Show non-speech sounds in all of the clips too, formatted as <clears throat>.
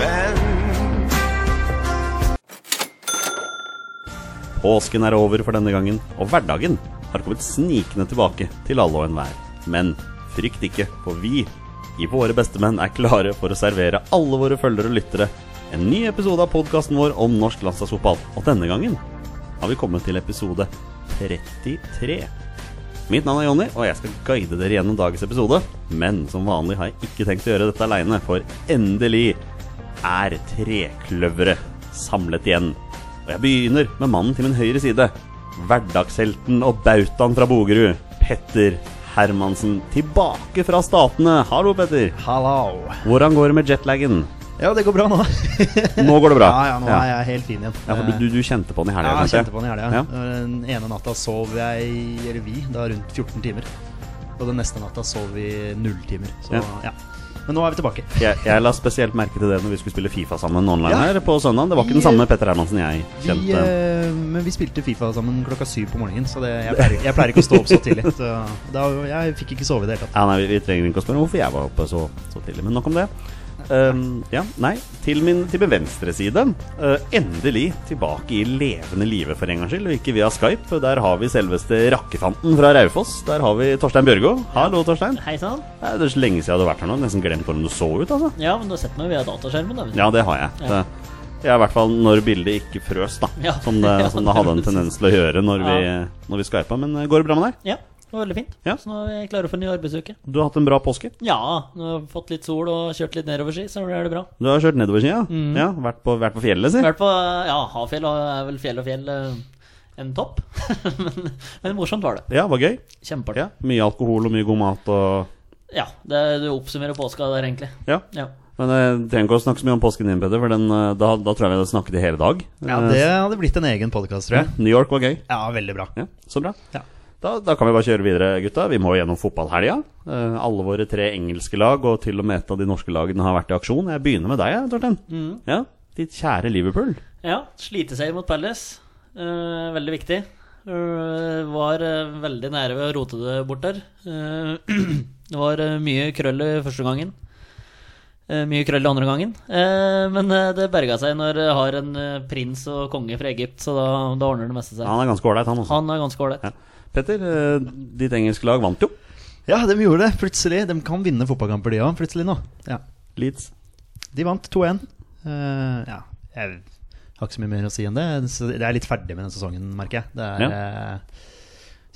menn. Påsken er over for denne gangen, og hverdagen har kommet snikende tilbake til alle og enhver. Men frykt ikke, for vi i Våre bestemenn er klare for å servere alle våre følgere og lyttere en ny episode av podkasten vår om norsk landslagsfotball. Og denne gangen har vi kommet til episode 33. Mitt navn er Jonny, og jeg skal guide dere gjennom dagens episode. Men som vanlig har jeg ikke tenkt å gjøre dette aleine, for endelig er trekløveret samlet igjen. Og jeg begynner med mannen til min høyre side. Hverdagshelten og bautaen fra Bogerud, Petter Hermansen. Tilbake fra Statene. Hallo, Petter. Hallo. Hvordan går det med jetlagen? Ja, det går bra nå. Nå går det bra. <laughs> Ja, ja, nå er jeg helt fin igjen. Ja, for du, du, du kjente på den i Ja, helga? jeg kanskje? kjente på den i helga. Ja. Den ene natta sov jeg, eller vi, da rundt 14 timer. Og den neste natta sov vi null timer. Så Ja. ja. Men nå er vi tilbake. Jeg, jeg la spesielt merke til det når vi skulle spille Fifa sammen online Ja. her på søndag. Det var ikke Vi, den samme Petter Hermansen jeg Vi, kjente. eh, men vi spilte Fifa sammen klokka syv på morgenen, så det, jeg, pleier, jeg pleier ikke å stå opp så <laughs> tidlig. Så da, jeg fikk ikke sove i det hele tatt. Ja, nei, vi, vi trenger ikke å spørre hvorfor jeg var oppe så, så tidlig, men nok om det. Ehm, ja, nei, til min, til min venstre side. eh, endelig tilbake i levende live for en gangs skyld, og ikke via Skype. Der har vi selveste rakkefanten fra Raufoss. Der har vi Torstein Bjørgo. Hallo, Torstein. Hei sann. Det er så lenge siden du har vært her nå. Nesten glemt hvordan du så ut, altså. Ja, men du har sett meg via dataskjermen. da, vet du. Ja, det har jeg. Ja. Det, ja, I hvert fall når bildet ikke frøs, da. Ja. Som, det, <laughs> Ja, som det hadde en det- tendens til å gjøre når vi, Ja. når vi skypa. Men eh, går det bra med deg? Ja, det var veldig fint. Ja. Så nå er jeg klare for en ny arbeidsuke. Du har hatt en bra påske? Ja, nå har jeg fått litt sol og kjørt litt nedoverski, så er det bra. Du har kjørt nedover siden, Mm. ja? ja vært, på, vært på fjellet, si? I hvert fall, ja, Hafjell er vel fjell og fjell eh, en topp. <laughs> men, men morsomt var det. Ja, det var gøy. Kjempeartig. Ja, mye alkohol og mye god mat og Ja, det, du oppsummerer påska der, egentlig. Ja. Ja. Men jeg trenger ikke å snakke så mye om påsken din, Peder, for den, eh, da, da tror jeg vi hadde snakket i hele dag. Ja, Eh, det hadde blitt en egen podkast, tror jeg. New York var gøy. Ja, veldig bra. Ja, så bra. Ja. Da, da kan vi bare kjøre videre, gutta. Vi må gjennom fotballhelga. Eh, alle våre tre engelske lag og til og med et av de norske lagene har vært i aksjon. Jeg begynner med deg, jeg, Torstein. Ja, ditt kjære Liverpool. Ja, sliteseier mot Palace. Eh, veldig viktig. Eh, var eh, veldig nære ved å rote det bort der. Eh, <clears throat> det var eh, mye krøll i første gangen. Eh, mye krøll i andre gangen. Eh, men eh, det berga seg når jeg har en eh, prins og konge fra Egypt, så da, da ordner det meste seg. Han er ganske ålreit, han også. Han er ganske ålreit. Ja. Petter, eh, ditt engelske lag vant jo. Ja, de gjorde det. Plutselig. De kan vinne fotballkamper, de òg, plutselig nå. Ja. Leeds. De vant 2-1. Eh, ja, jeg har ikke så mye mer å si enn det. Så Det er litt ferdig med den sesongen, merker jeg. Det er, eh,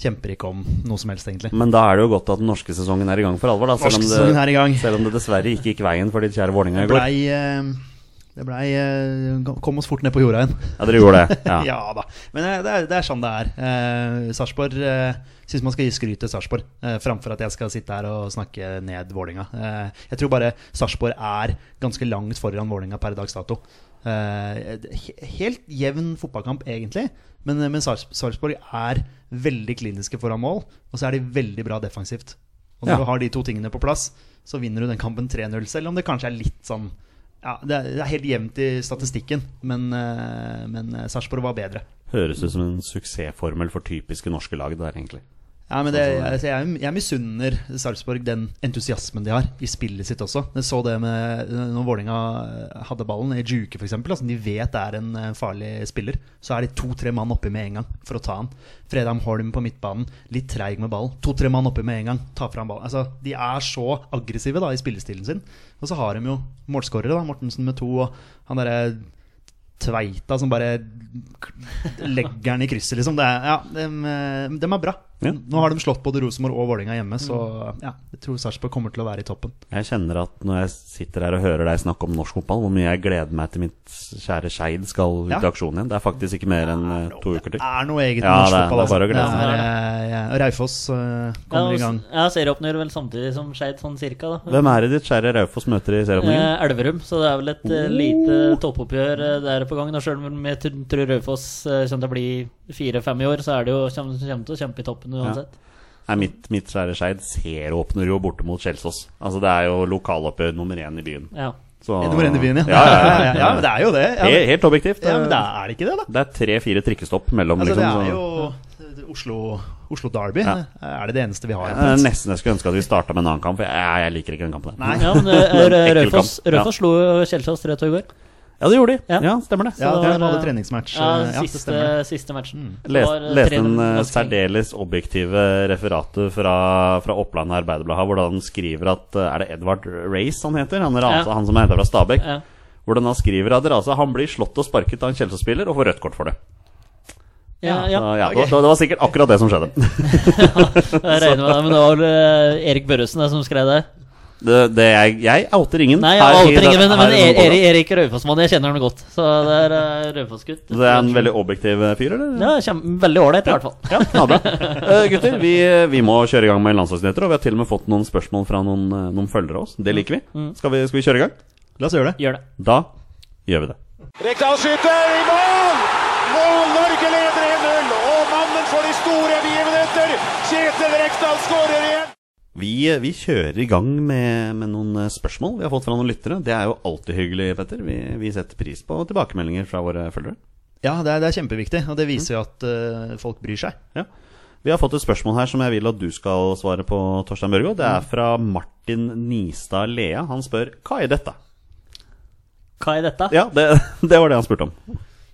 kjemper ikke om noe som helst, egentlig. Men da er det jo godt at den norske sesongen er i gang for alvor, da. Selv om Norsksesongen det, er i gang. selv om det dessverre ikke gikk veien for ditt kjære Vålerenga Det i går. blei eh, det blei eh, Kom oss fort ned på jorda igjen. Ja, dere gjorde det. <laughs> Ja, Ja. da. Men eh, det er, det er sånn det er. Eh, Sarpsborg eh, syns man skal gi skryt til Sarpsborg, eh, framfor at jeg skal sitte her og snakke ned Vålinga Eh, jeg tror bare Sarpsborg er ganske langt foran Vålinga per dags dato. Eh, he- helt jevn fotballkamp, egentlig, men, eh, men Sarps- Sarpsborg er veldig kliniske foran mål, og så er de veldig bra defensivt. Og når Ja. du har de to tingene på plass, så vinner du den kampen 3-0, selv om det kanskje er litt sånn ja, det er, det er helt jevnt i statistikken, men, eh, men eh, Sarpsborg var bedre. Høres ut som en suksessformel for typiske norske lag, det der, egentlig. Ja, men det, altså, jeg, jeg misunner Sarpsborg den entusiasmen de har i spillet sitt også. Jeg så det med når Vålinga hadde ballen i Juke, f.eks. Altså, de vet det er en eh, farlig spiller. Så er de to-tre mann oppi med en gang for å ta han. Fredheim Holm på midtbanen, litt treig med ballen. To-tre mann oppi med en gang, ta fram ballen. Altså, de er så aggressive da i spillestilen sin. Og så har de jo målskårere, da. Mortensen med to, og han derre Tveita som bare legger den i krysset, liksom. Det er, ja, dem, eh, dem er bra. Ja. Mm. Nå har de slått både Rosenborg og Vålerenga hjemme, så ja, jeg tror Sarpsborg kommer til å være i toppen. Jeg kjenner at når jeg sitter her og hører deg snakke om norsk fotball, hvor mye jeg gleder meg til mitt kjære Skeid skal ut i Ja. aksjon igjen. Det er faktisk ikke mer enn eh, to uker Det til. er noe eget med Ja, norsk det er- fotball. altså. det er bare å glede seg. er, eh, ja, Raufoss eh, kommer i ja, gang. og s- ja, serieåpner vel samtidig som Skeid, sånn cirka. da Hvem er det ditt kjære Raufoss møter i serieåpningen? Eh, Elverum, så det er vel et eh, Oh. lite toppoppgjør eh, der på gang. da, Selv om jeg tr- tror Raufoss eh, kommer til å bli fire-fem i år, så er det jo kommer, kommer til å kjempe i toppen uansett. Nei, mitt, mitt kjære Skeid serieåpner jo borte mot Kjelsås. Altså, det er jo lokaloppgjør nummer én i byen. Ja. Så- Nummer én i byen, ja. Ja, ja, ja, ja. men det er jo det. <laughs> Ja, Helt, Liksom men, helt objektivt. ja, men det det er det ikke det, da? er tre-fire trikkestopp mellom, Altså, det liksom. er så- jo Oslo, Oslo Derby Ja. er det det eneste vi har. Det er nesten jeg skulle ønske at vi starta med en annen kamp. for Jeg, jeg liker ikke den kampen. der. Nei. Ja, <laughs> men eh, Det er en ekkel Raufoss kamp. Raufoss slo jo Kjelsås 3-2 i går. Ja, det gjorde de. Ja. Ja, stemmer det. Ja, Så det det var, hadde eh, treningsmatch. Ja, eh, ja, det siste, stemmer. siste matchen. Det Mm. Les, var, eh, leste 3-0 en eh, ganske lenge. særdeles objektive referatet fra, fra Oppland Arbeiderblad her, hvor han skriver at eh, Er det Edvard Race han heter? Han, rasa, Ja. han som er henta fra Stabæk. Ja. Hvordan han skriver at Rasa han blir slått og sparket av en Kjelsås-spiller og får rødt kort for det. Ja, Så, ja. ja, Ok. det, var- det var sikkert akkurat det som skjedde. <laughs> Jeg regner med det, men det var vel eh, Erik Børresen det som skrev det. Det, det jeg, jeg outer ingen. Nei, Mm. her i jeg den- ingen, men, her men i denne Er- Erik, podcasten. Erik Raufoss-mann, jeg kjenner han godt. Så det er eh, Raufoss-gutt. Så det er en veldig objektiv eh, fyr, eller? Ja, kjem, veldig ålreit, i hvert fall. Ja, knallbra. <laughs> Eh, gutter, vi, vi må kjøre i gang med landslagsnyheter. Og vi har til og med fått noen spørsmål fra noen, eh, noen følgere av oss. Det liker vi. Skal vi, skal vi kjøre i gang? La oss gjøre det. Gjør det. Mm, Da gjør vi det. Rekdal skyter i mål! Mål! Norge leder 1-0! Og mannen for de store begivenheter, Kjetil Rekdal, skårer igjen! Vi, vi kjører i gang med, med noen eh, spørsmål vi har fått fra noen lyttere. Det er jo alltid hyggelig, Petter. Vi, vi setter pris på tilbakemeldinger fra våre følgere. Ja, det er, det er kjempeviktig, og det Mm. viser jo at eh, folk bryr seg. Ja. Vi har fått et spørsmål her som jeg vil at du skal svare på, Torstein Børgo. Det er fra Martin Nistad Lea. Han spør hva er dette? Hva er dette? Ja, det, <laughs> det var det han spurte om.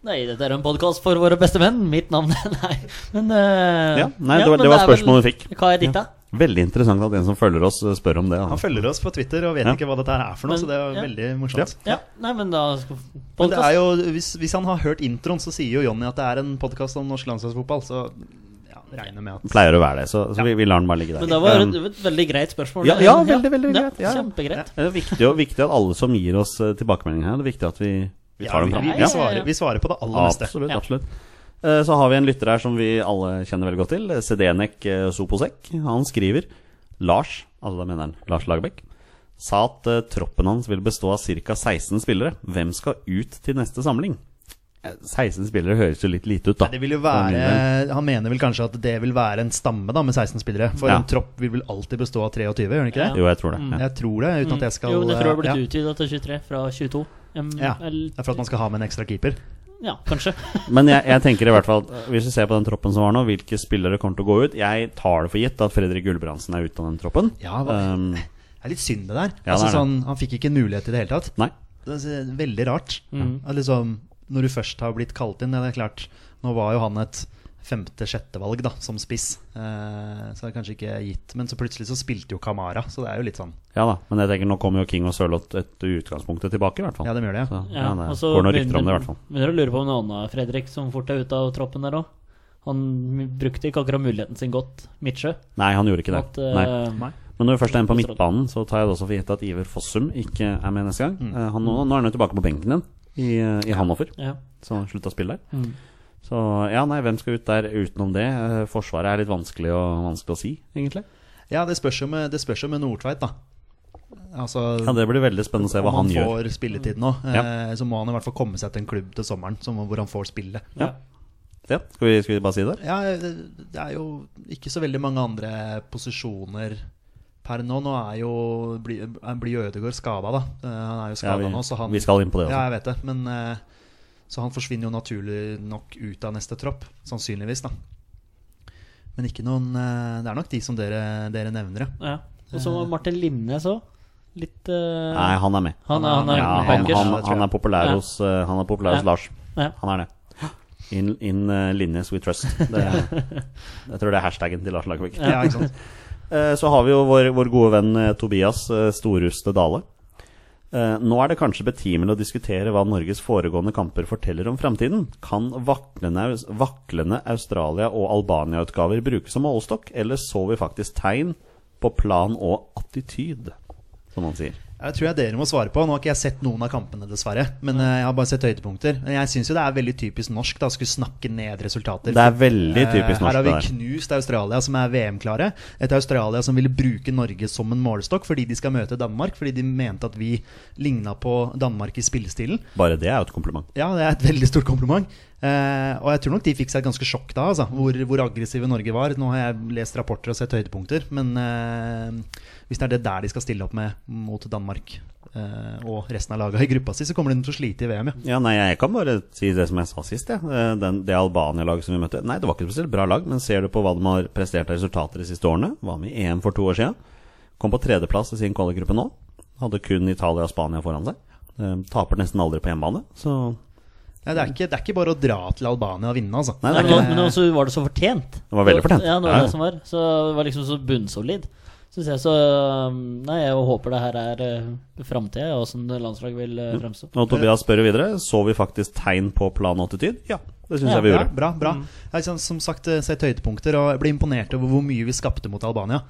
Nei, dette er en podkast for våre beste menn. Mitt navn <laughs> Nei, men eh, Ja, nei, det var- det var er vel- spørsmålet vi fikk. Hva er ditt, da? Veldig interessant at en som følger oss, eh, spør om det. Han Han. følger oss på Twitter og vet Ja. ikke hva dette her er for noe, Men- så det er ja. veldig morsomt. Ja, nei, men da Men det Podkast. er jo, hvis, hvis han har hørt introen, så sier jo Jonny at det er en podkast om norsk landslagsfotball, så ja, regner med at Pleier å være det, så, så vi, vi lar den bare ligge der. Men det var Um, et, et veldig greit spørsmål. Ja, ja, veldig, veldig greit, ja, ja. Kjempegreit. det er viktig, og- viktig at alle som gir oss eh, tilbakemeldinger her, det er viktig at vi, vi ja, tar dem vi, fram. vi, Ja. vi, svarer, vi svarer på det aller meste. Absolutt, Ja. absolutt. Eh, Så har vi en lytter her som vi alle kjenner veldig godt til. Sedenek eh, Soposek. Han skriver Lars, altså da mener han Lars Lagerbäck, sa at eh, troppen hans vil bestå av ca. 16 spillere. Hvem skal ut til neste samling? Eh, 16 spillere høres jo litt lite ut, da. Det vil jo For min være, del. han mener vel kanskje at det vil være en stamme da med 16 spillere. For Ja. en tropp vil vel alltid bestå av 23, gjør den ikke det? Jo, jeg tror det. Ja. Jeg tror det, uten at jeg skal Mm. jo, det tror jeg har blitt ja. utvida til 23 fra 22. Um, Ja, eller- det er for at man skal ha med en ekstra keeper. ja, kanskje. <laughs> Men jeg, jeg tenker i hvert fall at hvis vi ser på den troppen som var nå, hvilke spillere kommer til å gå ut? Jeg tar det for gitt at Fredrik Gulbrandsen er ute av den troppen. Ja, hva- Um, Det er litt synd, det der. Ja, altså, det er det. sånn, han fikk ikke en mulighet i det hele tatt. nei. Det er veldig rart. At liksom, når du først har blitt kalt inn, ja, det er klart Nå var jo han et femte-sjettevalg da, som spiss, eh, så det er kanskje ikke gitt. Men så plutselig så spilte jo Kamara, så det er jo litt sånn. Ja da, men jeg tenker nå kommer jo King og Sørloth etter utgangspunktet tilbake, i hvert fall. Ja, de gjør det, ja. Så, ja, Ja, altså, det og så går noen rykter om det, i begynner- hvert fall. Begynner å lure på om noe annet, Fredrik, som fort er ute av troppen der òg. Han brukte ikke akkurat muligheten sin godt, Midtsjø. Nei, han gjorde ikke det. At, eh, Nei. Men når vi først er inne på Sørloth. midtbanen, så tar jeg det også for gitt at Iver Fossum ikke er med neste Mm. gang. Eh, Han, nå, nå er han jo tilbake på benken igjen, i, eh, i Hanoffer, ja. så han slutta å spille der. Mm. Så ja, nei, hvem skal ut der utenom det? Eh, Forsvaret er litt vanskelig å, vanskelig å si, egentlig. Ja, det spørs jo med, det spørs jo med Nordtveit, da. Altså, Ja, Det blir veldig spennende å se om hva han, gjør. får spilletid nå, eh, Ja. så må han i hvert fall komme seg til en klubb til sommeren som, hvor han får spille. Ja. Ja, skal, vi, skal vi bare si det? Ja, det det er jo ikke så veldig mange andre posisjoner per nå. Nå er jo blir blir jo Ødegaard skada, da. Eh, Han er jo skada Ja, vi, nå, så han vi skal inn på det altså. Ja, også. jeg vet det. Men eh, Så han forsvinner jo naturlig nok ut av neste tropp. Sannsynligvis, da. Men ikke noen eh, Det er nok de som dere, dere nevner, ja. ja. Og så Martin Limnes òg. Litt eh, Nei, han er med. han, er- han er med, Ja, han, bankers. han, det tror jeg. han er populær Ja. hos, eh, han er populær Ja. hos Lars. Ja. Han er det. In, in eh, Linnes we trust. Det, jeg tror det er hashtaggen til Lars Lagerbäck. ja. ikke sant? Eh, Så har vi jo vår, vår gode venn eh, Tobias eh, Storhuste Dale. Eh, Nå er det kanskje betimelig å diskutere hva Norges foregående kamper forteller om framtiden. Kan vaklende, Aus- vaklende Australia- og Albania-utgaver brukes som målestokk, eller så vi faktisk tegn på plan og attityd, som han sier? Jeg tror jeg dere må svare på. Nå har ikke jeg sett noen av kampene, dessverre. Men eh, jeg har bare sett høydepunkter. Men jeg syns jo det er veldig typisk norsk da, å skulle snakke ned resultater. Det er veldig typisk Eh, Her norsk. har det vi der. knust Australia, som er VM-klare. Et Australia som ville bruke Norge som en målestokk fordi de skal møte Danmark. Fordi de mente at vi ligna på Danmark i spillestilen. Bare det er jo et kompliment. Ja, det er et veldig stort kompliment. Eh, og jeg tror nok de fikk seg et ganske sjokk da, altså, hvor, hvor aggressive Norge var. Nå har jeg lest rapporter og sett høydepunkter, men eh, hvis det er det der de skal stille opp med mot Danmark eh, eh, og resten av laga i gruppa si, så kommer de til å slite i VM, ja. Ja, nei, Jeg kan bare si det som jeg sa sist. Ja. Eh, Den, det Albania-laget som vi møtte Nei, det var ikke et spesielt bra lag, men ser du på hva de har prestert av resultater de siste årene Var med i EM for to år siden. Kom på tredjeplass i sin kvalikgruppe nå. Hadde kun Italia og Spania foran seg. Eh, Taper nesten aldri på hjemmebane. Så Nei, det, er ikke, det er ikke bare å dra til Albania og vinne, altså. Nei, det Nei, er men, ikke også- men også var det så fortjent. Det var veldig fortjent. Ja, det var Ja, ja. det som var. Så det var liksom så bunnsolid. Synes jeg så um, Nei, jeg håper det her er uh, framtida, åssen landslag vil uh, fremstå. Og Tobias spør jo videre Så vi faktisk tegn på plan attityd. Ja, det syns jeg vi gjorde. Ja, bra, bra. Jeg har liksom, som sagt eh, sett høydepunkter, og jeg ble imponert over hvor mye vi skapte mot Albania.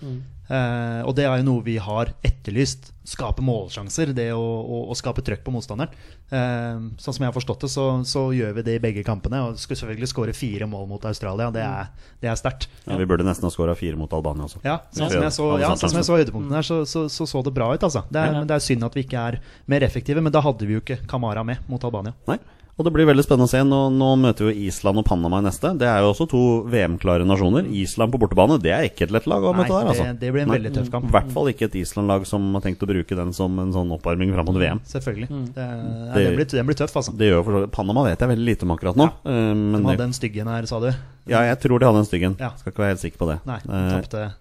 Eh, og det er jo noe vi har etterlyst. Skape målsjanser, det å, å, å skape trøkk på motstanderen. Eh, sånn som jeg har forstått det, så, så gjør vi det i begge kampene. Og skulle selvfølgelig skåre fire mål mot Australia, det er, det er sterkt. Ja, vi burde nesten ha scora fire mot Albania også. Ja, sånn Ja. som jeg så, Alle ja, sammen. sånn som jeg så høydepunktene her, så så, så så det bra ut, altså. Det er, Ja. men det er synd at vi ikke er mer effektive, men da hadde vi jo ikke Kamara med mot Albania. Nei. Og det blir veldig spennende å se. Nå, nå møter vi Island og Panama i neste. Det er jo også to VM-klare nasjoner. Island på bortebane, det er ikke et lett lag å Nei, møte der, altså. det, det blir en Nei. veldig tøff kamp. I hvert fall ikke et Island-lag som har tenkt å bruke den som en sånn oppvarming fram mot VM. Selvfølgelig. Det, ja, Det- den, blir, den blir tøff, altså. Det gjør jo for så vidt Panama vet jeg veldig lite om akkurat nå. eh, De Men hadde en stygg en her, sa du? ja, jeg tror de hadde en stygg en. Ja. Skal ikke være helt sikker på det. Nei, de Eh, tapte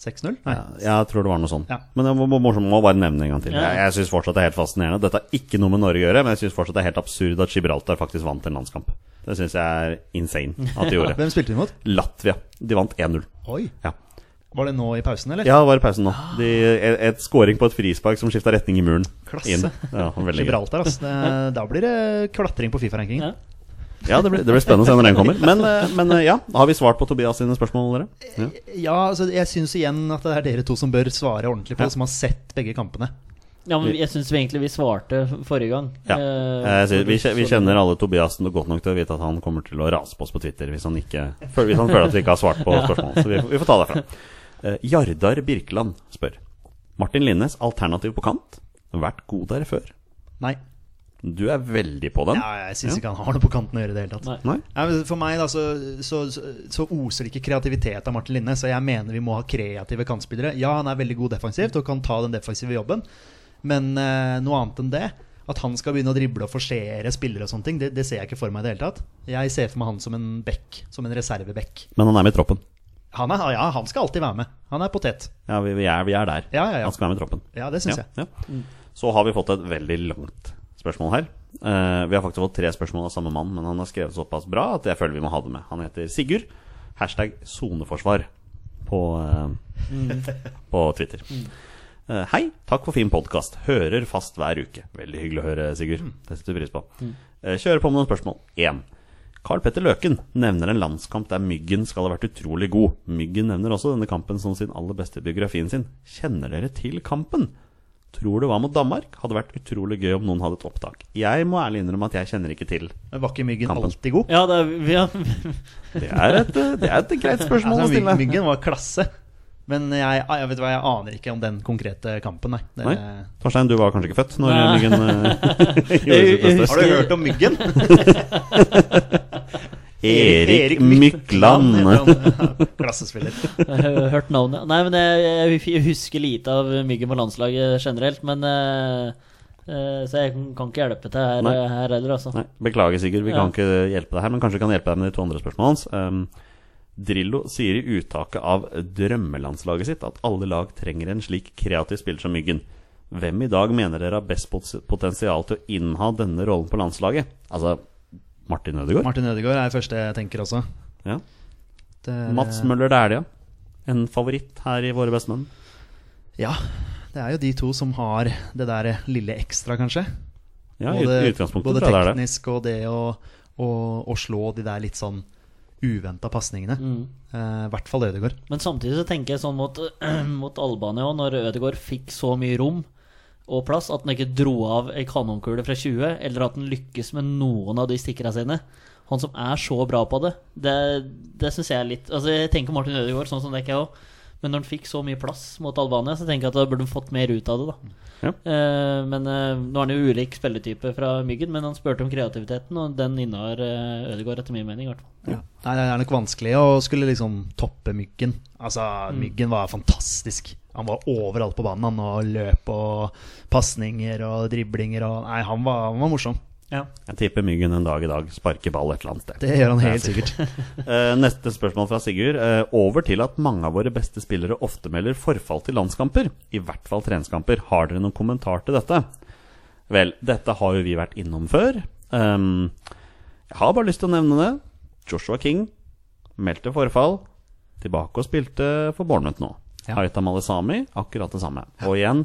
6-0? Nei. ja, jeg tror det var noe sånn. Ja. Men det var morsomt å bare nevne det en gang til. Ja. Jeg, jeg syns fortsatt det er helt fascinerende. Dette har ikke noe med Norge å gjøre, men jeg syns fortsatt det er helt absurd at Gibraltar faktisk vant en landskamp. Det syns jeg er insane at <laughs> de gjorde. Hvem spilte de mot? Latvia. De vant 1-0. Oi, Ja. Var det nå i pausen, eller? Ja, det var i pausen nå. De, et, et scoring på et frispark som skifta retning i muren. Klasse. Inn. Ja, veldig gøy. Gibraltar, altså. Det, da blir det klatring på Fifa-rankingen. Ja. Ja, det blir, det blir spennende å se når den kommer. Men, eh, men eh, ja, har vi svart på Tobias sine spørsmål, dere? Ja. Ja, altså, jeg syns igjen at det er dere to som bør svare ordentlig på, Ja. som har sett begge kampene. Ja, men jeg syns egentlig vi svarte forrige gang. Ja. Eh, Eh, så vi, kje- vi kjenner alle Tobiasen godt nok til å vite at han kommer til å rase på oss på Twitter hvis han, ikke, føl- hvis han føler at vi ikke har <laughs> svart på spørsmålet. Så vi, får- vi får ta derfra. Eh, Jardar Birkeland spør. Martin Linnes, alternativ på kant? Vært god der før? Nei. Du er veldig på den. Ja, jeg syns ikke han har noe på kanten å gjøre i det hele tatt. Nei. Nei? Nei, men for meg da, så, så, så oser ikke kreativitet av Martin Linne, så jeg mener vi må ha kreative kantspillere. Ja, han er veldig god defensivt og kan ta den defensive jobben, men eh, noe annet enn det at han skal begynne å drible og forsere spillere, og sånne ting, det, det ser jeg ikke for meg. i det hele tatt. Jeg ser for meg han som en back, som en reserveback. Men han er med i troppen. Han, er, ja, han skal alltid være med. Han er potet. Ja, vi, vi, er, vi er der. Ja, ja, ja. Han skal være med i troppen. Ja, det syns jeg. Ja, ja. Så har vi fått et veldig langt spørsmål her. Eh, vi har faktisk fått tre spørsmål av samme mann, men han har skrevet såpass bra at jeg føler vi må ha det med. Han heter Sigurd. Hashtag soneforsvar på, eh, på Twitter. Eh, hei, takk for fin podkast. Hører fast hver uke. Veldig hyggelig å høre, Sigurd. Det setter vi pris på. Eh, kjører på med noen spørsmål. 1. Carl Petter Løken nevner en landskamp der Myggen skal ha vært utrolig god. Myggen nevner også denne kampen som sin aller beste i biografien sin. Kjenner dere til kampen? Tror det var mot Danmark. Hadde vært utrolig gøy om noen hadde et opptak. Jeg må ærlig innrømme at jeg kjenner ikke til. Men var ikke Myggen Kampen. alltid god? Ja, det er, vi har, <laughs> Det er et, eh, det er et greit spørsmål Altså, å Myg- stille. myggen var klasse. Men jeg, jeg vet hva, jeg aner ikke om den konkrete kampen, nei. Det, Nei. Torstein, du var kanskje ikke født når Nei. Myggen eh, <laughs> gjorde <laughs> sitt Jeg- jeg beste. Har du hørt om Myggen? <laughs> Erik Mykland. <laughs> Klassespiller. eh, hørt navnet. Nei, men jeg, jeg husker lite av Myggen på landslaget generelt, men eh, eh, Så jeg kan ikke hjelpe til her, Nei. her heller, altså. Nei, beklager, Sigurd. Vi Ja. kan ikke hjelpe deg her, men kanskje vi kan hjelpe deg med de to andre spørsmålene hans. Um, Drillo sier i uttaket av drømmelandslaget sitt at alle lag trenger en slik kreativ spiller som Myggen. Hvem i dag mener dere har best pot- potensial til å inneha denne rollen på landslaget? Altså Martin Ødegaard? Martin Ødegaard er første jeg tenker også. Ja. Det, Mats Møller Dæhlie. En favoritt her i Våre bestemenn. Ja, det er jo de to som har det der lille ekstra, kanskje. Ja, i i utgangspunktet både tror jeg det er det. teknisk og det å, å, å slå de der litt sånn uventa pasningene. Eh, I hvert fall Ødegaard. Men samtidig så tenker jeg sånn mot, <clears throat> mot Albania òg, når Ødegaard fikk så mye rom og plass at han ikke dro av ei kanonkule fra 20, eller at han lykkes med noen av de stikkerne sine. Han som er så bra på det, det, det syns jeg er litt Altså, jeg tenker Martin Ødegaard, sånn som dere òg, Men når han fikk så mye plass mot Albania, så tenker jeg at da burde han fått mer ut av det. da. Ja. Eh, men eh, Nå er han jo ulik spilletype fra Myggen, men han spurte om kreativiteten, og den innehar uh, Ødegaard, etter min mening. i hvert fall. Nei, det er nok vanskelig å skulle liksom toppe Myggen. Altså, Mm. Myggen var fantastisk. Han var overalt på banen, han, og løp og pasninger og driblinger og Nei, han var, han var morsom. Jeg tipper Myggen en dag i dag sparker ball et eller annet sted. Det gjør han Det er helt sikkert. Eh, neste spørsmål fra Sigurd. Eh, over til at mange av våre beste spillere ofte melder forfall til landskamper. I hvert fall treningskamper. Har dere noen kommentar til dette? Vel, dette har jo vi vært innom før. Ehm, jeg har bare lyst til å nevne det. Joshua King meldte forfall. Tilbake og spilte for Bournemouth nå. Ja. Haita Malesami, akkurat det samme. Og igjen,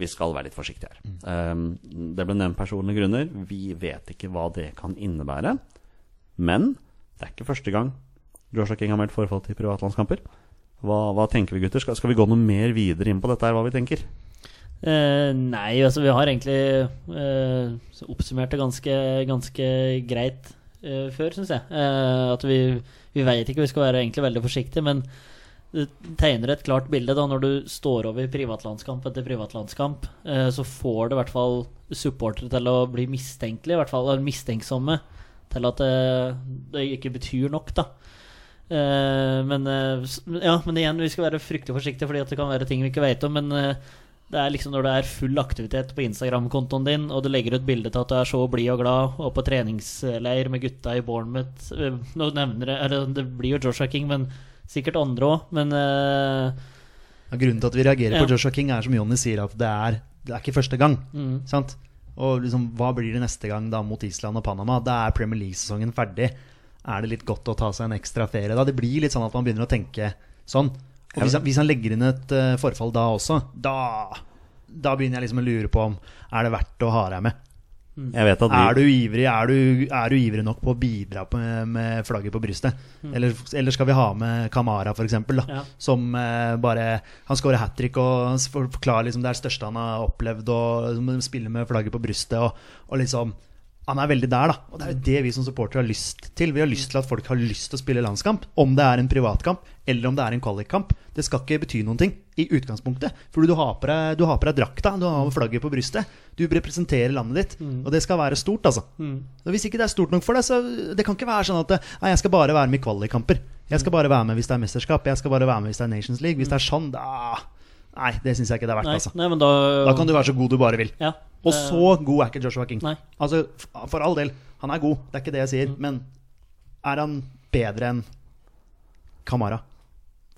vi skal være litt forsiktige her. Ehm, det ble nevnt personlige grunner. Vi vet ikke hva det kan innebære. Men det er ikke første gang Joshua King har meldt forfall til privatlandskamper. Hva, hva tenker vi, gutter? Skal, skal vi gå noe mer videre inn på dette her, hva vi tenker? Eh, nei, altså vi har egentlig eh, så oppsummert det ganske, ganske greit eh, før, syns jeg. Eh, at vi, vi veit ikke, vi skal være egentlig veldig forsiktige, men det tegner et klart bilde da når du står over privatlandskamp etter privatlandskamp. eh, så får du i hvert fall supportere til å bli mistenkelige, i hvert fall eller mistenksomme, til at det, det ikke betyr nok, da. Eh, men, eh, s- ja, men igjen, vi skal være fryktelig forsiktige, fordi at det kan være ting vi ikke vet om. Men eh, det er liksom når det er full aktivitet på Instagram-kontoen din, og du legger ut bilde til at du er så blid og glad, og på treningsleir med gutta i Bournemouth eh, Nå nevner jeg eller Det blir jo Joshua King, men sikkert andre òg. Men eh, Ja, Grunnen til at vi reagerer på Ja. Joshua King, er som Jonny sier, at det er, det er ikke første gang. Mm. Sant? Og liksom, hva blir det neste gang da mot Island og Panama? Da er Premier League-sesongen ferdig. Er det litt godt å ta seg en ekstra ferie da? Det blir litt sånn at man begynner å tenke sånn. Og hvis han, hvis han legger inn et eh, forfall da også, da, da begynner jeg liksom å lure på om er det verdt å ha deg med. Jeg vet at vi, Mm. Er du ivrig er du, er du ivrig nok på å bidra på, med flagget på brystet? Eller, eller skal vi ha med Kamara, f.eks., Mm. Ja. da som eh, bare Han scorer hat trick og han s- for- forklarer liksom det er det største han har opplevd, og liksom, spiller med flagget på brystet. Og, og liksom Han er veldig der, da. Og det er jo det vi som supportere har lyst til. Vi har lyst til at folk har lyst til å spille landskamp. Om det er en privatkamp, eller om det er en kvalikkamp. Det skal ikke bety noen ting i utgangspunktet. Fordi du har på deg, du har på deg drakta, du har flagget på brystet. Du representerer landet ditt, og det skal være stort, altså. Og Hvis ikke det er stort nok for deg, så det kan ikke være sånn at nei, jeg skal bare være med i kvalikkamper. Jeg skal bare være med hvis det er mesterskap, jeg skal bare være med hvis det er Nations League. Hvis det er sånn, da Nei, det syns jeg ikke det er verdt, nei, altså. nei, men da Da kan du være så god du bare vil. ja, Og eh, så god er ikke Joshua King. Nei. Mm. Altså, f- For all del, han er god, det er ikke det jeg sier. Men er han bedre enn Kamara,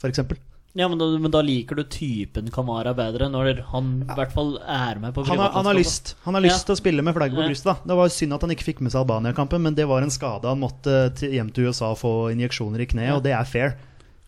for eksempel? Ja, men da, men da liker du typen Kamara bedre, når han i hvert fall er med på Han har, han har lyst Han har Ja. lyst til å spille med flagget på Ja. brystet. da Det var synd at han ikke fikk med seg Albania-kampen, men det var en skade han måtte eh, til, hjem til USA og få injeksjoner i kneet, og det er fair.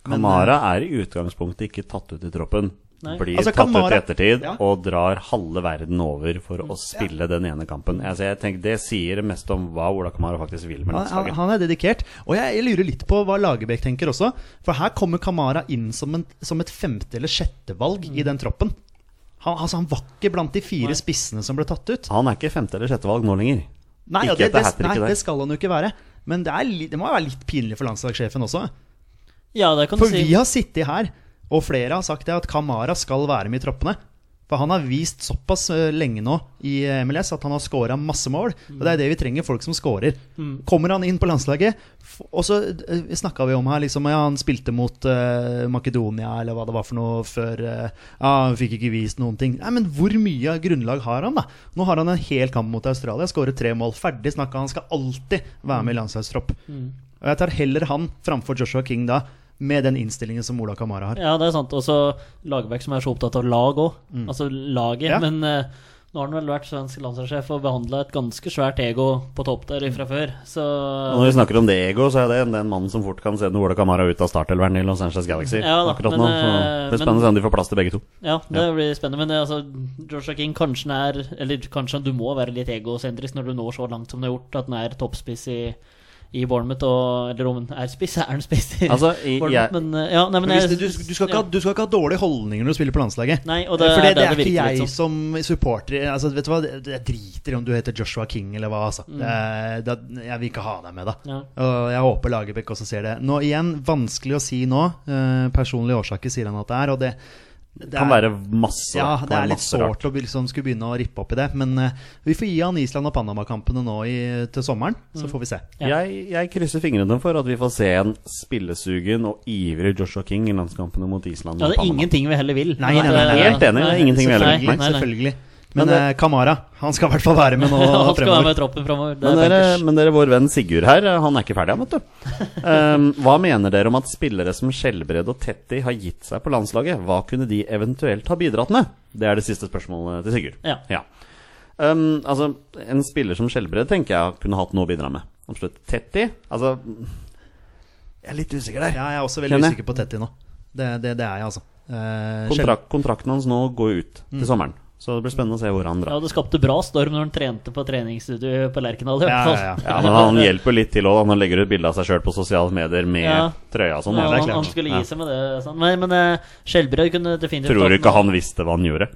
Men, eh, Kamara er i utgangspunktet ikke tatt ut i troppen. Nei. Blir Altså, tatt ut i Kamara- ettertid Ja. og drar halve verden over for å spille den ene kampen. Altså, jeg tenker Det sier mest om hva Ola Kamara faktisk vil Han, med han, landslaget. han er dedikert. Og jeg, jeg lurer litt på hva Lagerbäck tenker også. For her kommer Kamara inn som, en, som et femte- eller sjettevalg i den troppen. Han, altså, han var ikke blant de fire Nei. spissene som ble tatt ut. Han er ikke femte- eller sjettevalg nå lenger. Nei, Ikke og det, etter det, hat-tricket nei, der. det skal han jo ikke være. Men det, er, li- det må jo være litt pinlig for landslagssjefen også. Ja, det kan du For si. vi har sittet her, og flere har sagt det, at Kamara skal være med i troppene. For han har vist såpass eh, lenge nå i eh, MLS at han har scora masse mål. Og det er det vi trenger, folk som scorer. Mm. Kommer han inn på landslaget f- Og så snakka vi om her, liksom ja, han spilte mot eh, Makedonia eller hva det var for noe før eh, Ja, han fikk ikke vist noen ting. Nei, men hvor mye grunnlag har han, da? Nå har han en hel kamp mot Australia, skåret tre mål. Ferdig snakka, han skal alltid være med i landslagstropp. Mm. Og jeg tar heller han framfor Joshua King da, med den innstillingen som Ola Kamara har. Ja, det er sant. Og så Lagerbäck, som er så opptatt av lag òg. Altså laget. Ja. Men eh, nå har han vel vært svensk landslagssjef og behandla et ganske svært ego på topp der fra før. Så Og når vi snakker om det ego, så er det en, det er en mann som fort kan sende Ola Kamara ut av startelveren i Los Angeles Galaxy Ja da, akkurat men, nå. Så det eh, blir spennende å men- se om de får plass til begge to. ja, det blir spennende. Men eh, altså, Joshua King, kanskje han er Eller kanskje du må være litt egosentrisk når du når så langt som du har gjort, at han er toppspiss i i Bournemouth, og, eller om han er spiss. Er han spiss i Altså, i- jeg- Bournemouth? Men, eh, ja, nei, men Men hvis jeg- du, du, du, skal ikke ha, du skal ikke ha dårlige holdninger når du spiller på landslaget. Nei, og det For det, er det der er det ikke virker litt jeg som supporter altså, vet du hva, det- Jeg driter i om du heter Joshua King eller hva. Altså. Det er- det er- jeg vil ikke ha deg med, da. Mm. Ja. Og jeg håper Lagerbäck også ser det. Nå igjen, Vanskelig å si nå. Eh, personlige årsaker sier han at det er. Og det, det Det kan være masse ja, kan det være er litt masse rart. sårt å be- liksom skulle begynne å rippe opp i det. Men eh, vi får gi han Island og Panama-kampene nå i, til sommeren, Mm. så får vi se. Ja. Jeg, jeg krysser fingrene for at vi får se en spillesugen og ivrig Joshua King i landskampene mot Island. Ja, og det er Panama. ingenting vi heller vil. Nei, nei, nei, Men, nei, eh, helt enig, det er ingenting vi heller vil. Nei, Selvfølgelig. nei, nei. selvfølgelig. Men, Men det- eh, Kamara han skal i hvert fall være med nå Han skal være fremover. med i troppen framover. Det Men eh, er dere, bankers. men dere, vår venn Sigurd her, eh, han er ikke ferdig, han, <laughs> vet du. Ehm, hva mener dere om at spillere som Skjelbred og Tetti har gitt seg på landslaget? Hva kunne de eventuelt ha bidratt med? Det er det siste spørsmålet til Sigurd. Ja. Ehm, altså, en spiller som Skjelbred tenker jeg kunne hatt noe å bidra med. Absolutt. Tetti Altså Jeg er litt usikker der. Ja, jeg er også veldig Kjenner jeg. usikker på Tetty nå. Det, det, det er jeg, Mm. altså. Eh, Kontrakt, kontrakten hans nå går ut til sommeren, så det blir spennende å se hvor han drar. Ja, det skapte bra storm når han trente på treningsstudio på Lerkendal. Ja, i hvert fall. ja, ja. Ja, men han hjelper litt til òg. Han legger ut bilde av seg sjøl på sosiale medier med Ja. trøya og sånn. Ja, da. han, han skulle gi seg med det. Sånn. Nei, men uh, Skjelbred kunne definitivt Tror du tatt ikke med- han visste hva han gjorde?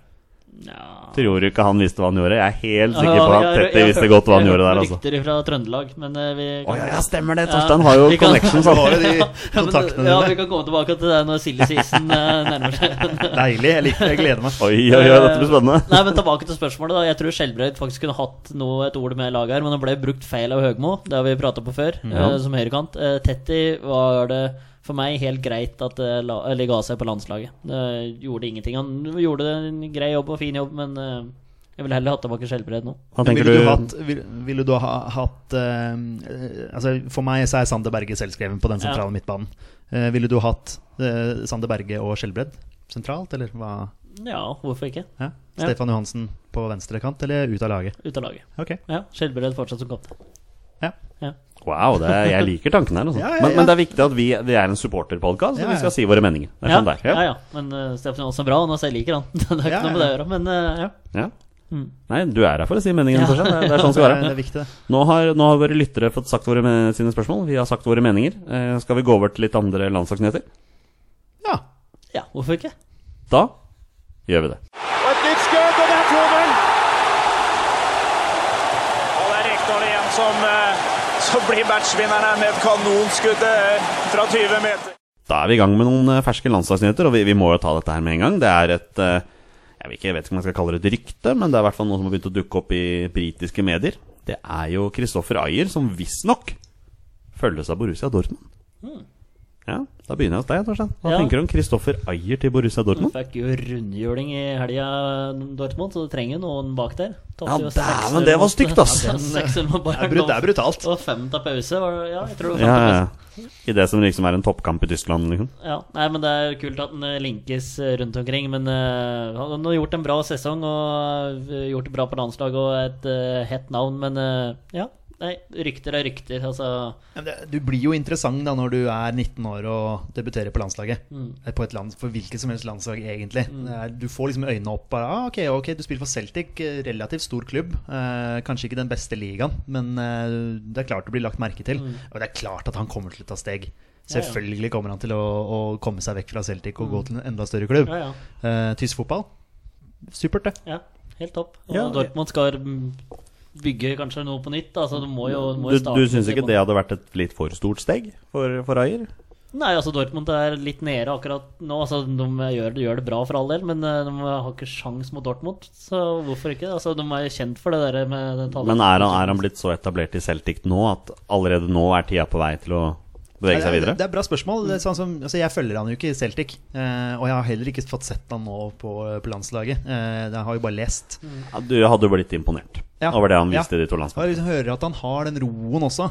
Ja. Tror du ikke han visste hva han gjorde? Jeg er helt sikker Ja, på at jeg- jeg- Tetti jeg visste hørte- godt hva han jeg gjorde hørte der, noen altså. Rykter fra Trøndelag, men eh, vi Å ja, ja, stemmer det! Ja. Torstein har jo Vi kan- connections. Det Han. var jo de <laughs> Ja, men, kontaktene ja, vi dine. kan komme tilbake til det når silly season eh, nærmer seg. <laughs> Deilig. Jeg liker det. Jeg gleder meg. Oi, oi, oi, dette blir spennende. Eh, <laughs> Nei, men Tilbake til spørsmålet. da Jeg tror Skjelbreid faktisk kunne hatt noe, et ord med laget her, men det ble brukt feil av Høgmo. Det har vi prata på før, Mm. Ja. eh, som høyrekant. Eh, Tetti var det for meg helt greit at det la, eller ga seg på landslaget. Det gjorde ingenting. Han gjorde en grei jobb og fin jobb, men eh, jeg ville heller hatt tilbake Skjelbreid nå. Hva Men tenker ville du, du? hatt, vil, ville du ha hatt eh, altså For meg så er Sander Berge selvskreven på den sentrale midtbanen. Eh, ville du hatt eh, Sander Berge og Skjelbred sentralt, eller hva? Ja, hvorfor ikke? Ja? Ja. Stefan Johansen på venstre kant, eller ut av laget? Ut av laget. Ok. Ja, Skjelbreid fortsatt som kaptein. Ja. Ja. Wow, det er, jeg liker tanken her. Altså. Ja, ja, Men, ja. men det er viktig at vi, vi er en supporterpodkast, så Ja, vi ja. skal si våre meninger. Det er Ja, sånn det er. ja, ja. Men eh, Stefan Johansen er bra, og nå selv liker han. <laughs> det er ikke Ja, noe med det å ja. gjøre, men eh, ja. Ja. Nei, du er her for å si meningen. Mm. <laughs> Ja. Torstein. Det er- det er sånn Det det skal er, være. Altså, det er viktig, det. Nå har, nå har våre lyttere fått sagt våre me- sine spørsmål. Vi har sagt våre meninger. Eh, skal vi gå over til litt andre landslagsnyheter? Ja. ja, hvorfor ikke? Da gjør vi det. Og et nytt skudd, og det er 2-0! Og det er Rekdal igjen som, eh, som blir matchvinneren her med et kanonskudd eh, fra 20 meter. Da er vi i gang med noen eh, ferske landslagsnyheter, og vi, vi må jo ta dette her med en gang. Det er et eh, jeg, vet ikke, jeg vet ikke om jeg skal kalle det et rykte, men det er i hvert fall noe som har begynt å dukke opp i britiske medier. Det er jo Christoffer Ayer som visstnok følges av Borussia Dortmund. Ja, Da begynner jeg hos deg, Torstein. Hva Ja. tenker du om Christoffer Ayer til Borussia Han Dortmund? fikk jo rundhjuling i helga, Dortmund, så du trenger noen bak der. Ja, dæven, det var stygt, ass. Det er brut- det er brutalt. Og fem til pause, var det? Ja, jeg tror det var Ja, fem til ja, pause. ja. I det som liksom er en toppkamp i Tyskland, liksom. Ja, nei, men Det er kult at den eh, linkes eh, rundt omkring. Men eh, han har gjort en bra sesong og eh, gjort det bra på landslaget og et eh, hett navn. Men eh, ja, nei, rykter er rykter. Altså, Men det- Du blir jo interessant da når du er 19 år og debuterer på landslaget. Mm. Eh, På et land, for hvilket som helst landslag, egentlig. Det er- Du får liksom øynene opp. Bare, ah, ok, ok, Du spiller for Celtic, eh, relativt stor klubb. Eh, kanskje ikke den beste ligaen, men eh, det er klart du blir lagt merke til. Og det er klart at han kommer til å ta steg. Mm. Ja, ja. Selvfølgelig kommer han til å, å komme seg vekk fra Celtic og gå til en enda større klubb. ja, ja. Eh, tysk fotball, supert, det. Ja, helt topp. Og Ja. Dortmund skal mm, bygge kanskje noe på nytt, da, så du må jo, du må Du, jo starte du syns litt ikke på- det hadde vært et litt for stort steg for, for Ayer? Nei, altså Dortmund er litt nede akkurat nå. Altså, de gjør det, gjør det bra for all del, men eh, de har ikke sjans mot Dortmund, så hvorfor ikke? Altså, de er jo kjent for det der med den talenten. Men er han, er han blitt så etablert i Celtic nå at allerede nå er tida på vei til å bevege Nei, seg Det, videre? det er et bra spørsmål. Det er sånn som, altså jeg følger han jo ikke i Celtic. eh, og jeg har heller ikke fått sett han nå på, på landslaget. Eh, jeg har jo bare lest. Mm. Ja, Du hadde jo blitt imponert Ja. over det han viste Ja. i de to Og landskapene. jeg liksom hører at han har den roen også.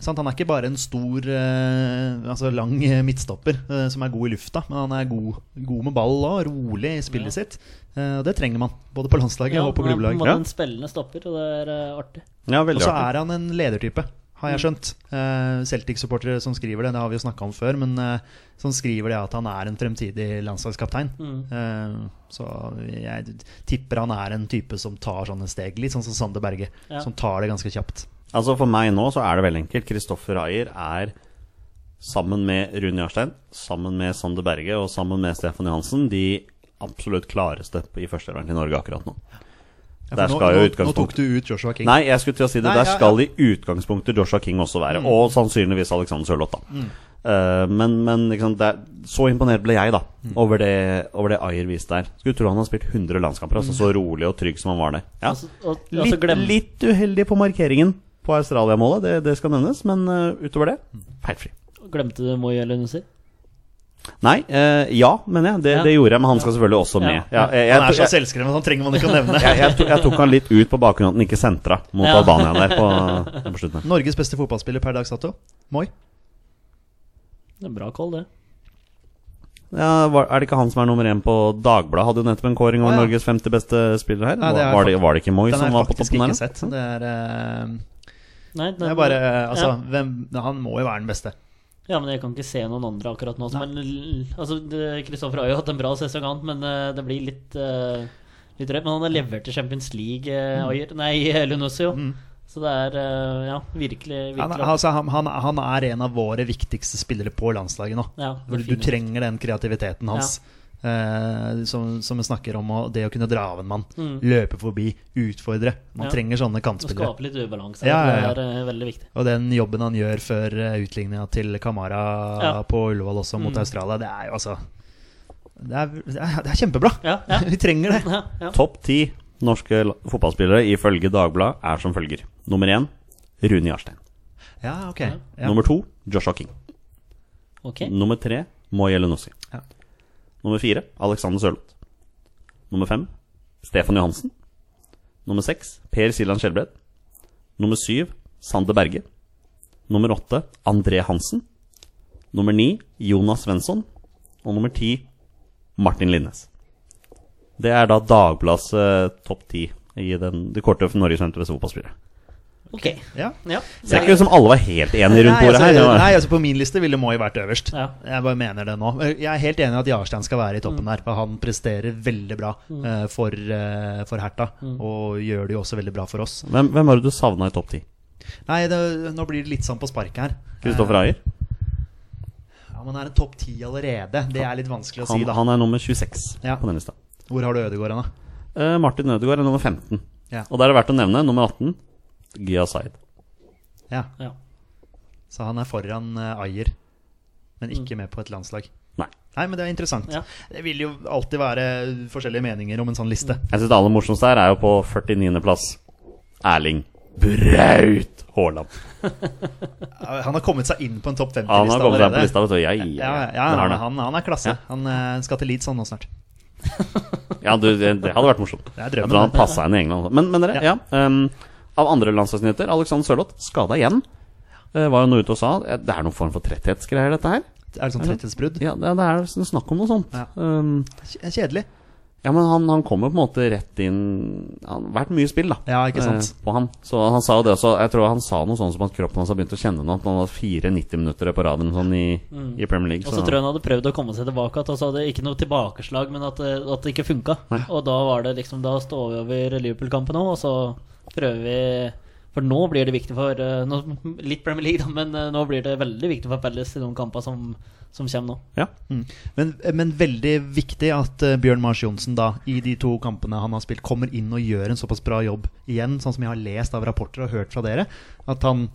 Sant? Han er ikke bare en stor, eh, altså lang eh, midtstopper eh, som er god i lufta, men han er god, god med ball og rolig i spillet sitt. Eh, og det trenger man, både på landslaget ja, og på han er på en klubblag. måte Ja. en spillende stopper, og det er eh, artig. Ja, Og veldig så artig. Mm. er han en ledertype. har jeg skjønt. Eh, Celtic-supportere som skriver det, det har vi jo snakka om før, men eh, som skriver det at han er en fremtidig landslagskaptein. Mm. Eh, så jeg tipper han er en type som tar sånne steg, litt sånn som Sander Berge. Ja. Som tar det ganske kjapt. Altså For meg nå så er det veldig enkelt. Kristoffer Ayer er sammen med Rune Jarstein, sammen med Sander Berge og sammen med Stefan Johansen de absolutt klareste i førsteelveren til Norge akkurat nå. Ja, for Der nå, skal nå, jo nå tok utgangspunktet- du ut Joshua King. Nei, jeg skulle til å si det. Nei, Der ja, ja. skal i utgangspunktet Joshua King også være. Og sannsynligvis Alexander Sørloth, da. Eh, men men liksom, det, er- så imponert ble jeg da over det, over det Ayer viste der. Skulle tro han har spilt 100 landskamper. Altså, så rolig og trygg som han var der. Ja. Altså, og, og så Litt, glem, litt uheldig på markeringen på Australia-målet, det, det skal nevnes. Men eh, utover det, feilfri. glemte du Moi eller Nussi? Nei, eh, ja, mener jeg. Det, Ja. det gjorde jeg, men han skal selvfølgelig også Ja. med. Ja, jeg, jeg, Han er så jeg, selvskreven at han trenger man ikke å <laughs> nevne. jeg, jeg, to- jeg tok han litt ut på bakgrunn av at han ikke sentra mot Ja. Albania der på, på slutten. Norges beste fotballspiller per dags dato? Moi. Det er bra call, det. Ja, var, er det ikke han som er nummer én på Dagbladet? Hadde jo nettopp en kåring over Ah, ja. Norges femte beste spiller her. Nei, det er var, det, var det ikke Moi Den som har var jeg på faktisk ikke toppen her? da? sett. Det er, eh, Nei, det nei, er bare eh, Altså, ja. hvem, han må jo være den beste. ja, men jeg kan ikke se noen andre akkurat nå. som er l- Altså, det- Kristoffer har jo hatt en bra sesong, han, men eh, det blir litt eh, Litt drøyt. Men han har levert til Champions League, eh, Mm. Ayer. Nei, Lunusio. Så det er eh, Ja, Han, virkelig, virkelig altså, han, han, han er en av våre viktigste spillere på landslaget nå. Ja, Hvor du definitivt. trenger den kreativiteten hans. Eh, som, som vi snakker om, og det å kunne dra av en mann. Løpe forbi, utfordre. Man Mm. Ja. trenger sånne Å kantspillere. skape litt ubalanse. Ja, ja, ja. Det er eh, veldig viktig. Og den jobben han gjør før eh, utligninga til Kamara Ja. Mm. på Ullevål også mot Australia, det er jo altså Det er, det er, det er kjempebra! Ja, ja. <laughs> Vi trenger det! Ja, ja. Topp ti norske la- fotballspillere ifølge Dagbladet er som følger. Nummer én Rune Jarstein. Ja, ok. Ja. Nummer to Joshua King. Ok. Mm. Nummer tre Moi Elenossi. Ja. Nummer fire Alexander Sørloth. Nummer fem Stefan Johansen. Nummer seks Per Siland Skjelbred. Nummer syv Sander Berge. Nummer åtte André Hansen. Nummer ni Jonas Svensson. Og nummer ti Martin Linnes. Det er da Dagbladets eh, topp ti i den, det kortet for Norges fremste beste fotballspillere. Ok. Ja. Ja. Det er ikke som alle var helt enige rundt Nei, bordet her. altså, det var- nei, altså på min liste ville Moi vært øverst. Ja. Jeg bare mener det nå. Jeg er helt enig i at Jarstein skal være i toppen Mm. her. For han presterer veldig bra eh, for, eh, for Herta, Mm. og gjør det jo også veldig bra for oss. Hvem, hvem var det du savna i topp ti? Nei, det, nå blir det litt sånn på sparket her. Kristoffer Ayer? Eh, Ja, Man er en topp ti allerede. Det er litt vanskelig å Han, si, da. han er nummer 26 Ja. på den lista. Hvor har du Ødegaard hen, da? Eh, Martin Ødegaard er nummer 15. Ja. Og der er det verdt å nevne nummer 18 Gia Zaid. Ja, Ja. så han er foran eh, Ayer, men ikke med på et landslag. Nei. Nei, men det er interessant. Mm. Ja. Det vil jo alltid være forskjellige meninger om en sånn liste. Jeg syns det aller morsomste her er jo på 49.-plass Erling Braut Haaland. Mm. Ja, Han har kommet seg inn på en topp Han 50-liste har kommet seg på lista, vet du. Ja, ja, Ja, ja. ja, ja Det har han, han. han, er klasse. Ja. Han eh, skal til Leeds han nå snart. ja du, det, det hadde vært morsomt. Det er Jeg drømmen. tror han passa inn i England. også. Men, men dere, ja. ehm, av andre landslagsnyheter, Alexander Sørloth skada igjen. Eh, var jo noe ute og sa eh, Det er noen form for tretthetsgreier, dette her. Er det sånn tretthetsbrudd? Ja, det, det er snakk om noe sånt. Ja. Ehm, Kj- Kjedelig. Ja, men han, han kom jo på en måte rett inn Han har vært mye spill, da. Ja, ikke sant. Eh, på ham. Så han sa jo det også. Jeg tror han sa noe sånn som at kroppen hans har begynt å kjenne noe. At han har fire 90-minutter på raden sånn i, i Premier League. Og så tror jeg han hadde prøvd å komme seg tilbake, at han sa det ikke noe tilbakeslag, men at, det- at det ikke funka. Og da var det liksom Da står vi over Liverpool-kampen nå, og så prøver vi For nå blir det viktig for eh, nå, Litt Premier League, da, men eh, nå blir det veldig viktig for Palace i de kampene som, som kommer nå. Ja. Mm. Men, eh, men veldig viktig at eh, Bjørn Mars Johnsen da, i de to kampene han har spilt, kommer inn og gjør en såpass bra jobb igjen, sånn som jeg har lest av rapporter og hørt fra dere. At han,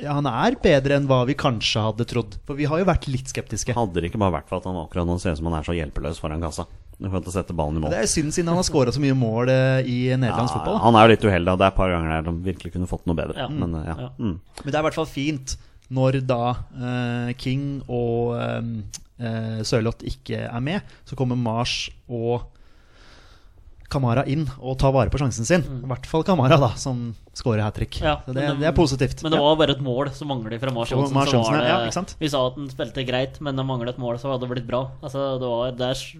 ja, han er bedre enn hva vi kanskje hadde trodd. For vi har jo vært litt skeptiske. Hadde det ikke bare vært for at han akkurat nå ser ut som han er så hjelpeløs foran kassa. For å sette ballen i mål. Det er jo synd siden han har skåra så mye mål eh, i nederlandsk ja, fotball. da. han er jo litt uheldig. da. Det er et par ganger der han virkelig kunne fått noe bedre. Ja. Men eh, ja. Ja. Mm. Men det er i hvert fall fint når da eh, King og eh, eh, Sørloth ikke er med, så kommer Mars og Kamara inn og tar vare på sjansen sin. I hvert fall Kamara, da, som scorer hat trick. Mm. Ja, så det, men det- det er positivt. Men det Ja. var bare et mål som mangler fra Mars Og Johnsen. Mars så var Johnsen, det- ja, ikke sant? Vi sa at han spilte greit, men det manglet et mål, så hadde det blitt bra. Altså, det var, det er s-